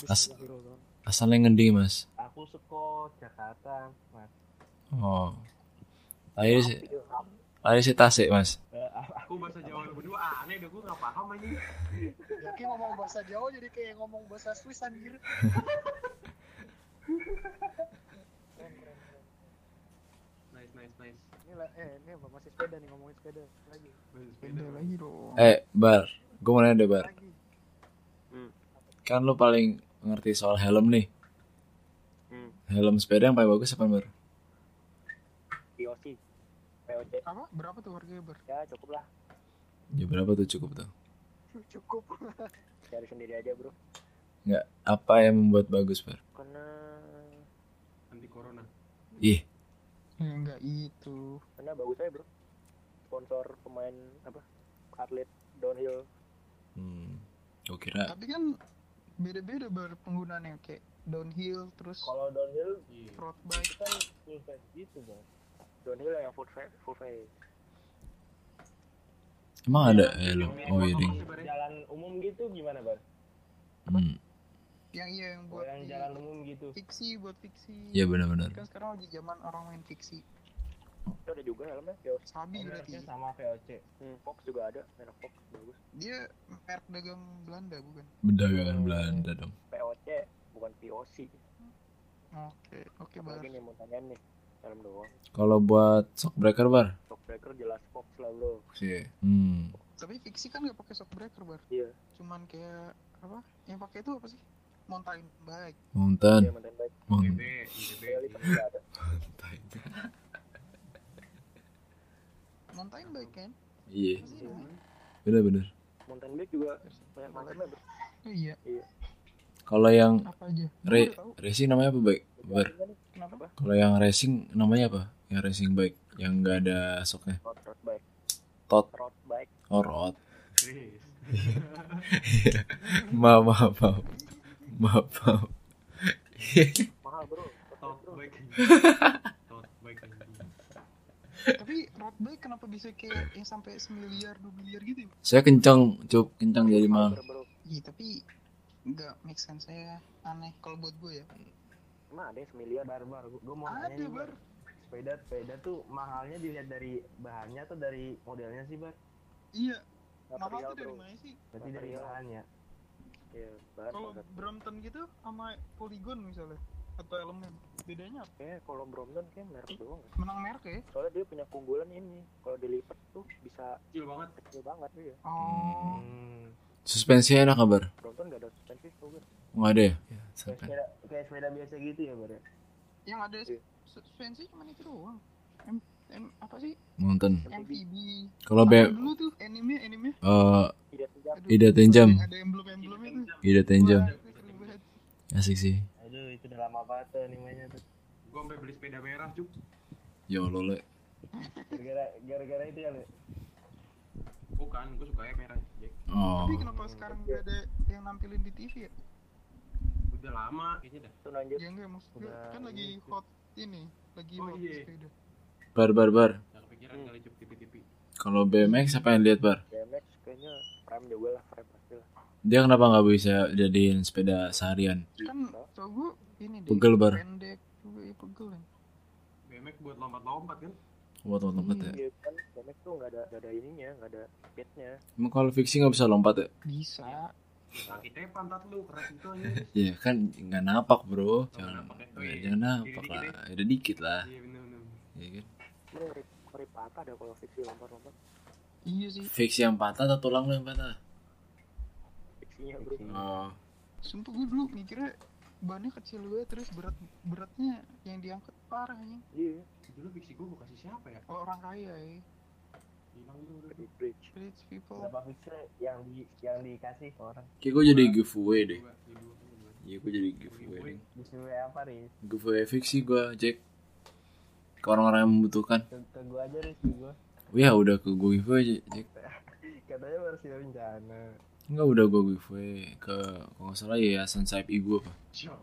[SPEAKER 4] As-
[SPEAKER 6] Bismillahirrahmanirrahim.
[SPEAKER 4] Asalnya ngendi, Mas?
[SPEAKER 5] Aku seko Jakarta, Mas.
[SPEAKER 4] Oh. Ayo sih. Ayo sih tasik, Mas.
[SPEAKER 5] Eh, apa?
[SPEAKER 2] aku bahasa Jawa lu berdua ah, aneh dah gue nggak paham aja
[SPEAKER 6] Zaki ngomong bahasa Jawa jadi kayak ngomong bahasa Swiss anjir. Keren, keren, keren.
[SPEAKER 2] nice nice nice
[SPEAKER 6] Ini lah, eh ini apa masih sepeda nih ngomongin sepeda lagi.
[SPEAKER 2] Bagus,
[SPEAKER 1] Beda
[SPEAKER 2] sepeda.
[SPEAKER 1] lagi dong.
[SPEAKER 4] Eh, Bar. Gue mau nanya deh, Bar.
[SPEAKER 6] Lagi.
[SPEAKER 4] Kan lu paling ngerti soal helm nih.
[SPEAKER 3] Hmm.
[SPEAKER 4] Helm sepeda yang paling bagus apa, Bar?
[SPEAKER 3] POC POC
[SPEAKER 1] Apa? Berapa tuh harganya ber?
[SPEAKER 3] ya cukup lah
[SPEAKER 4] Ya berapa tuh cukup tuh?
[SPEAKER 6] Cukup.
[SPEAKER 3] cari sendiri aja bro
[SPEAKER 4] Apa yang membuat bagus, Bar?
[SPEAKER 3] karena
[SPEAKER 2] anti corona
[SPEAKER 4] Ih,
[SPEAKER 1] Ya enggak itu.
[SPEAKER 3] karena bagus aja bro sponsor pemain apa atlet downhill
[SPEAKER 4] hmm, gue kira
[SPEAKER 1] Tapi kan beda-beda ber penggunaannya kayak downhill terus
[SPEAKER 5] Kalau downhill
[SPEAKER 2] Iya.
[SPEAKER 1] road bike.
[SPEAKER 5] itu kan full face gitu bang.
[SPEAKER 3] downhill yang full face full face
[SPEAKER 4] emang ada helm. Oh iya, ding.
[SPEAKER 2] Masih bareng.
[SPEAKER 5] Jalan umum gitu gimana bang?
[SPEAKER 4] Hmm,
[SPEAKER 1] Yang iya yang
[SPEAKER 5] Kalau
[SPEAKER 1] buat
[SPEAKER 5] yang
[SPEAKER 1] di-
[SPEAKER 5] jalan umum gitu.
[SPEAKER 1] fiksi buat fiksi.
[SPEAKER 4] iya benar-benar.
[SPEAKER 1] Kan sekarang lagi zaman orang main fiksi.
[SPEAKER 3] itu ada juga helmnya POC
[SPEAKER 1] Sabi
[SPEAKER 5] Komersi
[SPEAKER 1] berarti.
[SPEAKER 5] sama VOC.
[SPEAKER 3] hmm, Fox juga ada merek Fox bagus
[SPEAKER 1] Dia merek dagang Belanda bukan?
[SPEAKER 4] Bedagangan Belanda dong.
[SPEAKER 3] POC bukan POC
[SPEAKER 1] Oke, oke bar.
[SPEAKER 3] apalagi nih mau tanya nih helm doang
[SPEAKER 4] Kalau buat shock breaker, Bar?
[SPEAKER 3] shockbreaker jelas Fox lah bro
[SPEAKER 4] Sih. Hmm.
[SPEAKER 1] Tapi fiksi kan nggak pakai shock breaker bar.
[SPEAKER 3] Iya.
[SPEAKER 1] Cuman kayak apa? Yang pakai itu apa sih? Mountain bike.
[SPEAKER 4] Mountain.
[SPEAKER 3] dia mantan baik
[SPEAKER 4] Mountain.
[SPEAKER 2] ITB,
[SPEAKER 3] kali
[SPEAKER 2] ITB.
[SPEAKER 3] pasti ada
[SPEAKER 1] Mountain bike kan?
[SPEAKER 4] Iya,
[SPEAKER 1] Apa sih namanya?
[SPEAKER 4] benar-benar.
[SPEAKER 3] mountain bike juga banyak macamnya bro
[SPEAKER 1] Oh, iya.
[SPEAKER 4] Kalau yang
[SPEAKER 1] Apa aja? Gua
[SPEAKER 4] Re-
[SPEAKER 1] nggak tahu.
[SPEAKER 4] racing namanya apa baik? Bar.
[SPEAKER 3] Ada nih,
[SPEAKER 1] Kenapa?
[SPEAKER 4] Kalau yang racing namanya apa? Yang racing bike yang enggak ada soknya.
[SPEAKER 3] road road bike
[SPEAKER 4] Tot Oh,
[SPEAKER 3] road bike
[SPEAKER 4] orot.
[SPEAKER 2] Serius.
[SPEAKER 4] Maaf, maaf, maaf. Maaf, maaf.
[SPEAKER 3] mahal bro
[SPEAKER 2] Tot
[SPEAKER 3] road bike, bro
[SPEAKER 2] baik. Tot baik.
[SPEAKER 1] Tapi road bike kenapa bisa kayak yang sampai semiliar, dua miliar gitu ya?
[SPEAKER 4] Saya kencang, cup kencang jadi mahal.
[SPEAKER 3] Fiber, bro
[SPEAKER 1] Iya, tapi nggak make sense saya aneh kalau buat gue ya.
[SPEAKER 3] emang ada yang semiliar
[SPEAKER 5] Bar bar, gue mau nanya
[SPEAKER 1] Ada
[SPEAKER 5] nih bar.
[SPEAKER 1] bar.
[SPEAKER 5] Sepeda sepeda tuh mahalnya dilihat dari bahannya atau dari modelnya sih bar?
[SPEAKER 1] Iya, mahal
[SPEAKER 3] material
[SPEAKER 1] tuh dari
[SPEAKER 3] bro
[SPEAKER 1] mana Oh. sih?
[SPEAKER 5] Berarti dari
[SPEAKER 3] Material.
[SPEAKER 5] bahannya.
[SPEAKER 3] ya bahan
[SPEAKER 1] Kalau
[SPEAKER 3] banget.
[SPEAKER 1] Brompton gitu sama Polygon misalnya atau elemen bedanya apa?
[SPEAKER 3] Kayaknya kalau Brompton kayak merek doang ya.
[SPEAKER 1] menang merek ya
[SPEAKER 3] soalnya dia punya keunggulan ini kalau dilipat tuh bisa
[SPEAKER 2] Kecil banget.
[SPEAKER 3] kecil banget ya
[SPEAKER 1] oh
[SPEAKER 5] Hmm.
[SPEAKER 4] Suspensinya enak kabar?
[SPEAKER 3] Brompton gak ada suspensi tau gue
[SPEAKER 4] Enggak ada ya? ya
[SPEAKER 5] Kayak
[SPEAKER 4] sampai.
[SPEAKER 5] sepeda, kayak sepeda biasa gitu ya bar ya?
[SPEAKER 1] yang ada
[SPEAKER 3] Iya.
[SPEAKER 1] suspensi cuma itu doang M, M- apa sih
[SPEAKER 4] Mountain.
[SPEAKER 1] MPB
[SPEAKER 4] Kalau
[SPEAKER 1] Apa
[SPEAKER 4] B
[SPEAKER 1] dulu tuh anime anime
[SPEAKER 4] eh
[SPEAKER 3] tidak sejak
[SPEAKER 1] Aduh,
[SPEAKER 4] Ida Tenjam.
[SPEAKER 1] yang ada emblem emblem itu
[SPEAKER 4] Ida Tenjam.
[SPEAKER 1] Wah, itu seru banget.
[SPEAKER 4] Asik sih.
[SPEAKER 5] Aduh itu udah lama banget tuh animenya tuh.
[SPEAKER 2] Gue sampai beli sepeda merah cuk.
[SPEAKER 4] Ya Allah, Le.
[SPEAKER 5] Gara-gara gara-gara itu ya. Le?
[SPEAKER 2] Bukan, gue suka ya merah. Jack.
[SPEAKER 4] Oh.
[SPEAKER 1] tapi kenapa sekarang gak ada yang nampilin di TV ya
[SPEAKER 2] Udah lama kayaknya dah.
[SPEAKER 3] itu lanjut
[SPEAKER 1] ya enggak maksud gue
[SPEAKER 5] Udah,
[SPEAKER 1] kan lagi
[SPEAKER 5] ini sih.
[SPEAKER 1] hot ini lagi
[SPEAKER 2] Oh,
[SPEAKER 1] hot
[SPEAKER 2] iya.
[SPEAKER 1] sepeda
[SPEAKER 4] Bar bar bar.
[SPEAKER 2] Gak kepikiran
[SPEAKER 3] Hmm.
[SPEAKER 2] kali cuk tipi-tipi.
[SPEAKER 4] Kalau BMX apa yang lihat, Bar?
[SPEAKER 3] BMX kayaknya frame juga lah frame pasti lah
[SPEAKER 4] Dia kenapa nggak bisa jadiin sepeda seharian?
[SPEAKER 1] kan cowok gue ini deh
[SPEAKER 4] Pegel, Bar.
[SPEAKER 1] pendek juga ya pegel ya
[SPEAKER 2] BMX buat lompat-lompat kan.
[SPEAKER 4] Buat lompat ya.
[SPEAKER 3] iya kan BMX tuh gak ada gak ada ininya gak ada speednya
[SPEAKER 2] Hmm.
[SPEAKER 4] Emang kalau fiksi nggak bisa lompat ya?
[SPEAKER 1] bisa
[SPEAKER 2] Sakitnya Ya, pantat lu keras itu aja.
[SPEAKER 4] Iya kan nggak napak bro, jangan
[SPEAKER 2] napak ya? Oh,
[SPEAKER 4] ya,
[SPEAKER 2] iya.
[SPEAKER 4] jangan napak
[SPEAKER 2] Dikit-dikit
[SPEAKER 4] lah, ada dikit lah,
[SPEAKER 2] Iya benar-benar.
[SPEAKER 4] ya kan?
[SPEAKER 3] ini ngeri, ngeri patah ada kalau fiksi lompat-lompat
[SPEAKER 1] iya sih
[SPEAKER 4] Fiksi yang patah atau tulang lu yang patah?
[SPEAKER 3] fiksinya bro
[SPEAKER 4] Oh,
[SPEAKER 1] sumpah gue dulu mikirnya bannya kecil gue terus berat beratnya yang diangkat parah anjing
[SPEAKER 3] iya
[SPEAKER 2] Dulu fiksi gue mau kasih siapa ya?
[SPEAKER 1] orang kaya ya
[SPEAKER 2] Hilang dulu udah.
[SPEAKER 3] di bridge
[SPEAKER 1] rich people
[SPEAKER 5] Berapa fixer yang di yang dikasih ke orang?
[SPEAKER 4] kayak gue jadi giveaway deh.
[SPEAKER 2] Dua, dua, dua.
[SPEAKER 4] Iya gue jadi giveaway. deh.
[SPEAKER 5] Disuruh apa Riz?
[SPEAKER 4] Giveaway fiksi gue cek ke orang-orang yang membutuhkan.
[SPEAKER 5] Ke, ke gua aja Riz, ke gua.
[SPEAKER 4] Ya udah ke gue giveaway cek.
[SPEAKER 5] Katanya baru sih rencana.
[SPEAKER 4] Enggak udah gue giveaway ke kalau nggak salah yayasan sayap ibu apa?
[SPEAKER 2] Jauh.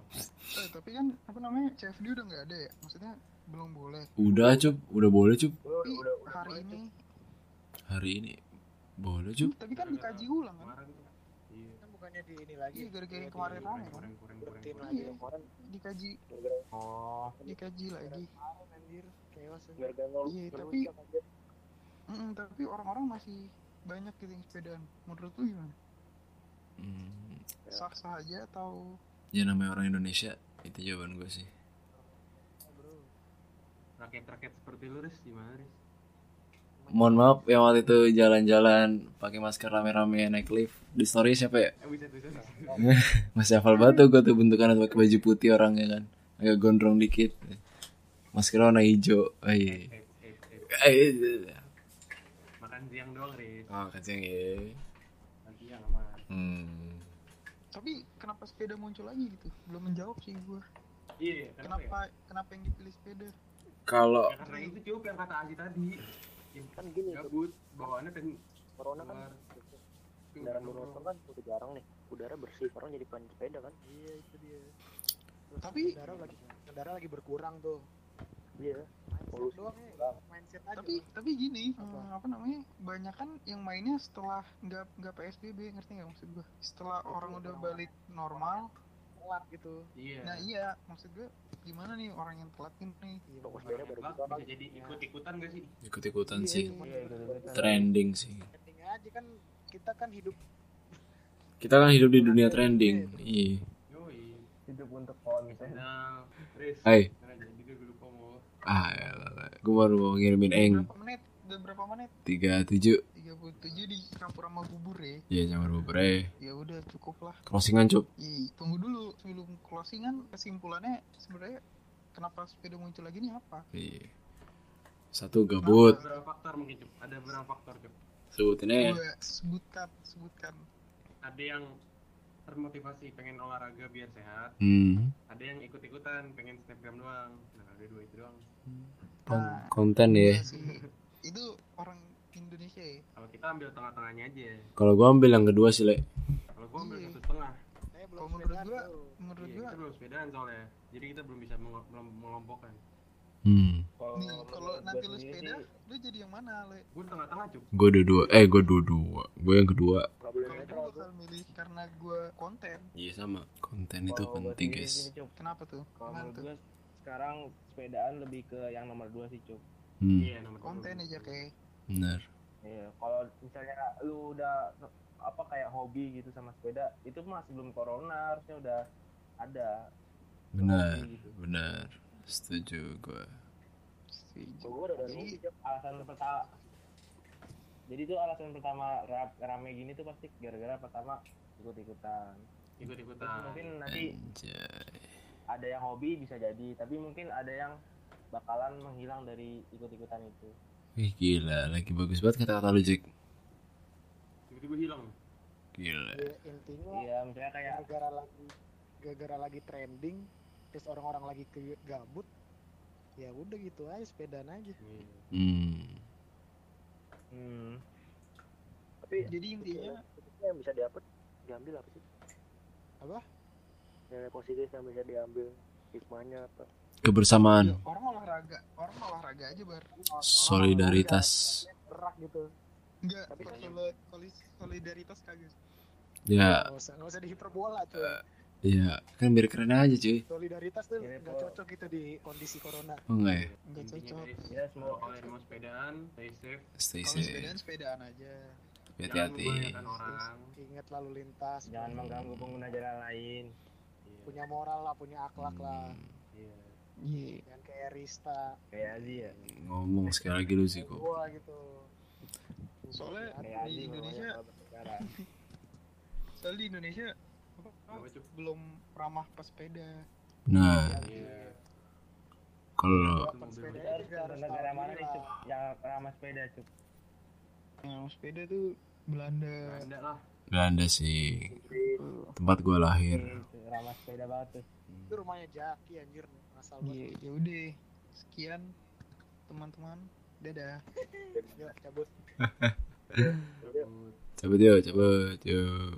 [SPEAKER 1] eh tapi kan apa namanya CFD udah nggak ada ya maksudnya belum boleh
[SPEAKER 4] Udah cup, udah boleh cup
[SPEAKER 3] Gua
[SPEAKER 1] tapi
[SPEAKER 3] udah udah
[SPEAKER 1] hari ini
[SPEAKER 4] hari ini boleh cup.
[SPEAKER 1] tapi kan dikaji ulang kan
[SPEAKER 2] Kemarin tuh. Iya.
[SPEAKER 6] Kan bukannya di ini lagi.
[SPEAKER 1] Iya, gara-gara yang
[SPEAKER 6] di-
[SPEAKER 1] kemarin
[SPEAKER 6] di-
[SPEAKER 1] rame.
[SPEAKER 2] Kurang kurang kurang.
[SPEAKER 6] Rutin
[SPEAKER 2] kurang.
[SPEAKER 6] lagi
[SPEAKER 1] Iya.
[SPEAKER 6] yang kemarin
[SPEAKER 1] dikaji
[SPEAKER 3] gara-gara
[SPEAKER 5] Oh,
[SPEAKER 1] dikaji lagi
[SPEAKER 6] kemarin Oh, anjir. Chaos anjir.
[SPEAKER 3] gara-gara ngel-
[SPEAKER 1] Iya,
[SPEAKER 3] ngelucak
[SPEAKER 1] tapi-
[SPEAKER 3] aja.
[SPEAKER 1] Mm-mm, tapi orang-orang masih banyak gitu yang sepedaan menurut lu gimana
[SPEAKER 4] Hmm,
[SPEAKER 1] sah sah aja atau
[SPEAKER 4] ya namanya orang Indonesia itu jawaban gue sih.
[SPEAKER 2] rakyat-rakyat seperti lu Riz gimana Riz?
[SPEAKER 4] Mohon maaf yang waktu itu jalan-jalan pakai masker rame-rame naik lift. Di story siapa ya?
[SPEAKER 2] Eh bisa bisa bisa.
[SPEAKER 4] Masih hafal banget tuh gue tuh bentukan pakai baju putih orangnya kan. Agak gondrong dikit. Masker warna hijau. Oh, iya.
[SPEAKER 2] Eh, eh, eh.
[SPEAKER 4] Eh,
[SPEAKER 2] Makan siang doang Riz.
[SPEAKER 4] Oh, kacang ya.
[SPEAKER 2] Makan siang sama
[SPEAKER 4] Hmm.
[SPEAKER 1] Tapi kenapa sepeda muncul lagi gitu? Belum menjawab sih gua.
[SPEAKER 2] Iya, kenapa, ya?
[SPEAKER 1] Kenapa kenapa yang dipilih sepeda?
[SPEAKER 7] Kalau
[SPEAKER 2] Ya, karena itu cukup yang kata Aji tadi. Yang
[SPEAKER 3] kan gini tuh,
[SPEAKER 2] Gabut, bawaannya dan
[SPEAKER 3] corona kan
[SPEAKER 5] Nah,
[SPEAKER 2] keluar.
[SPEAKER 3] kendaraan bermotor kan udah jarang nih udara bersih orang jadi pengen sepeda kan
[SPEAKER 6] Iya itu dia.
[SPEAKER 1] Tapi-
[SPEAKER 6] Kendara lagi kendara lagi berkurang tuh.
[SPEAKER 3] iya
[SPEAKER 6] Mindset
[SPEAKER 3] Polusi.
[SPEAKER 6] doang ya. Mindset aja.
[SPEAKER 1] tapi tapi gini eh,
[SPEAKER 6] Apa?
[SPEAKER 1] apa, namanya banyak kan yang mainnya setelah nggak nggak psbb ngerti nggak maksud gue setelah orang udah balik normal
[SPEAKER 6] telat gitu.
[SPEAKER 2] Iya.
[SPEAKER 1] nah iya maksud gue gimana nih orang yang telat nih
[SPEAKER 6] Iya.
[SPEAKER 3] Toko
[SPEAKER 2] Orang
[SPEAKER 3] sepeda baru
[SPEAKER 2] hebat
[SPEAKER 3] buka kan
[SPEAKER 2] bisa jadi ikut-ikutan gak sih?
[SPEAKER 4] Ikut-ikutan
[SPEAKER 6] Iya,
[SPEAKER 4] sih.
[SPEAKER 6] cuma
[SPEAKER 5] Iya,
[SPEAKER 6] kita-
[SPEAKER 5] gitu-gitu.
[SPEAKER 4] Trending sih.
[SPEAKER 6] Trending aja kan kita kan hidup
[SPEAKER 4] Kita kan hidup di dunia trending. Iya.
[SPEAKER 2] Yoi.
[SPEAKER 5] hidup untuk konten
[SPEAKER 2] Nah, Riz.
[SPEAKER 4] Hai.
[SPEAKER 2] Karena jadi gue lupa mau.
[SPEAKER 4] Ah, gue baru mau ngirimin eng
[SPEAKER 1] berapa menit udah berapa menit
[SPEAKER 4] 37.
[SPEAKER 1] 37 di campur sama bubur ya
[SPEAKER 4] Ya jamur bubur eh.
[SPEAKER 1] ya udah cukup lah
[SPEAKER 4] Crossingan cup.
[SPEAKER 1] Ih, tunggu dulu sebelum closingan kesimpulannya sebenarnya kenapa sepeda muncul lagi nih apa
[SPEAKER 4] Iya. Satu gabut.
[SPEAKER 2] Ada berapa faktor mungkin, Cuk? Ada berapa faktor, Cuk?
[SPEAKER 4] Sebutin aja.
[SPEAKER 1] Coba sebutkan sebutkan
[SPEAKER 2] Ada yang termotivasi pengen olahraga biar sehat,
[SPEAKER 4] Hmm.
[SPEAKER 2] ada yang ikut-ikutan pengen snapgram doang. Nah, ada dua itu doang.
[SPEAKER 4] Kon- konten ya.
[SPEAKER 1] Si- Iya itu orang Indonesia ya
[SPEAKER 2] Kalau kita ambil tengah-tengahnya aja.
[SPEAKER 4] Kalau gua ambil yang kedua sih, Le.
[SPEAKER 2] Kalau gua ambil
[SPEAKER 1] Iya.
[SPEAKER 2] satu setengah,
[SPEAKER 6] saya
[SPEAKER 1] Kalau
[SPEAKER 6] belum
[SPEAKER 1] menurut
[SPEAKER 6] sepedaan
[SPEAKER 1] gua-
[SPEAKER 6] tuh.
[SPEAKER 1] menurut
[SPEAKER 2] iya,
[SPEAKER 1] gue
[SPEAKER 2] kita belum sepedaan soalnya. Jadi kita belum bisa menge- mel- mengelompokkan.
[SPEAKER 4] Hmm.
[SPEAKER 3] Oh,
[SPEAKER 5] kalau
[SPEAKER 1] Nih, kalau
[SPEAKER 5] menurut
[SPEAKER 1] nanti
[SPEAKER 5] gua
[SPEAKER 1] lu
[SPEAKER 5] sendiri
[SPEAKER 1] sepeda,
[SPEAKER 5] sih,
[SPEAKER 1] lu jadi yang mana, Le?
[SPEAKER 2] Gue tengah-tengah, Cuk.
[SPEAKER 4] Gua dua-dua. Eh, gua dua-dua. Gua yang kedua.
[SPEAKER 3] nggak boleh
[SPEAKER 1] Kalau
[SPEAKER 3] naik
[SPEAKER 1] gue bakal milih karena gue konten.
[SPEAKER 4] Iya, sama. Konten itu
[SPEAKER 5] kalau gua
[SPEAKER 4] penting,
[SPEAKER 5] sendiri
[SPEAKER 4] guys.
[SPEAKER 5] sih, Cup,
[SPEAKER 1] Kenapa tuh?
[SPEAKER 5] kalau
[SPEAKER 1] Gimana
[SPEAKER 5] menurut
[SPEAKER 1] tuh?
[SPEAKER 5] gua sekarang sepedaan lebih ke yang nomor dua sih cup
[SPEAKER 4] Hmm.
[SPEAKER 2] Iya, nomor
[SPEAKER 1] Konten
[SPEAKER 2] dua.
[SPEAKER 1] aja kayak.
[SPEAKER 4] Benar.
[SPEAKER 5] Iya, kalau misalnya lu udah apa kayak hobi gitu sama sepeda, itu mah sebelum corona harusnya udah ada.
[SPEAKER 4] Benar.
[SPEAKER 5] Hobi gitu.
[SPEAKER 4] Benar. Setuju gua.
[SPEAKER 3] Kalau gua udah ada
[SPEAKER 5] Jadi,
[SPEAKER 3] hobi, Cuk.
[SPEAKER 5] Alasan pertama Jadi itu alasan pertama ra- rame gini tuh pasti gara-gara pertama ikut-ikutan. Terus
[SPEAKER 2] Ikut-ikutan.
[SPEAKER 5] mungkin nanti
[SPEAKER 4] Anjay.
[SPEAKER 5] ada yang hobi bisa jadi, tapi mungkin ada yang bakalan menghilang dari ikut-ikutan itu.
[SPEAKER 4] Wih, gila. Lagi bagus banget kata-kata lu, Jack.
[SPEAKER 2] Tiba-tiba hilang.
[SPEAKER 4] Gila.
[SPEAKER 6] Ya, intinya
[SPEAKER 5] Iya, misalnya kayak
[SPEAKER 6] gara-gara lagi gara-gara lagi trending terus orang-orang lagi ke gabut ya udah gitu aja sepedaan aja
[SPEAKER 2] Iya.
[SPEAKER 4] Hmm.
[SPEAKER 5] hmm,
[SPEAKER 3] tapi
[SPEAKER 1] Jadi intinya
[SPEAKER 3] positifnya yang bisa didapat diambil apa sih
[SPEAKER 6] Apa?
[SPEAKER 3] nilai positif yang bisa diambil hikmahnya apa
[SPEAKER 1] ya,
[SPEAKER 4] Kebersamaan,
[SPEAKER 1] orang olahraga, orang olahraga aja bar.
[SPEAKER 4] solidaritas.
[SPEAKER 6] gerak gitu
[SPEAKER 1] Enggak,
[SPEAKER 3] Tapi
[SPEAKER 1] kalau
[SPEAKER 3] kan-
[SPEAKER 1] soli- soli- solidaritas kagak.
[SPEAKER 4] Ya,
[SPEAKER 6] nggak usah nggak usah dihiperbola cuy
[SPEAKER 4] ya. Kan biar keren aja, cuy.
[SPEAKER 6] solidaritas tuh
[SPEAKER 5] Ini
[SPEAKER 6] nggak
[SPEAKER 5] kalau-
[SPEAKER 6] cocok gitu di kondisi corona
[SPEAKER 4] Oh, enggak ya?
[SPEAKER 1] Enggak
[SPEAKER 2] Intinya
[SPEAKER 1] cocok.
[SPEAKER 2] dari
[SPEAKER 5] ya semua
[SPEAKER 2] kalau kalian mau sepedaan, stay safe,
[SPEAKER 4] Stay
[SPEAKER 1] Kalau
[SPEAKER 4] safe.
[SPEAKER 1] sepedaan sepedaan aja.
[SPEAKER 4] Tapi Hati-hati.
[SPEAKER 2] jangan membahayakan orang.
[SPEAKER 6] ingat lalu lintas
[SPEAKER 5] jangan mengganggu pengguna jalan lain.
[SPEAKER 2] Iya.
[SPEAKER 6] punya moral lah punya akhlak lah
[SPEAKER 4] Hmm,
[SPEAKER 2] Iya.
[SPEAKER 1] Iya.
[SPEAKER 6] jangan kayak Rista
[SPEAKER 5] Kayak Azi ya.
[SPEAKER 4] Hmm, Ngomong sekali lagi lu sih
[SPEAKER 6] kayak
[SPEAKER 4] kok.
[SPEAKER 6] gua gitu
[SPEAKER 1] Soalnya
[SPEAKER 5] Kayak
[SPEAKER 1] di
[SPEAKER 5] Azi
[SPEAKER 1] Indonesia,
[SPEAKER 5] namanya, sekarang.
[SPEAKER 1] soalnya di Indonesia apa-
[SPEAKER 2] Apa, Cuk?
[SPEAKER 1] belum ramah pas sepeda.
[SPEAKER 4] Nah,
[SPEAKER 2] Iya.
[SPEAKER 4] kalau
[SPEAKER 6] Dapat
[SPEAKER 2] mobil
[SPEAKER 6] sepeda
[SPEAKER 5] Kita harus
[SPEAKER 6] juga harus
[SPEAKER 5] negara
[SPEAKER 6] tahu
[SPEAKER 5] mana
[SPEAKER 6] diri
[SPEAKER 5] nih cup
[SPEAKER 6] lah.
[SPEAKER 5] yang ramah sepeda cup
[SPEAKER 1] Yang Nah, sepeda tuh Belanda.
[SPEAKER 2] Belanda Nah, lah.
[SPEAKER 4] Belanda sih
[SPEAKER 1] Tuh.
[SPEAKER 4] tempat gua lahir.
[SPEAKER 5] Gitu, ramah sepeda banget tuh
[SPEAKER 6] itu rumahnya Jaki anjir asal banget
[SPEAKER 1] Iya, ya udah. Sekian teman-teman. Dadah.
[SPEAKER 6] yuk cabut
[SPEAKER 2] Cabut.
[SPEAKER 4] Cabut yuk, cabut yuk.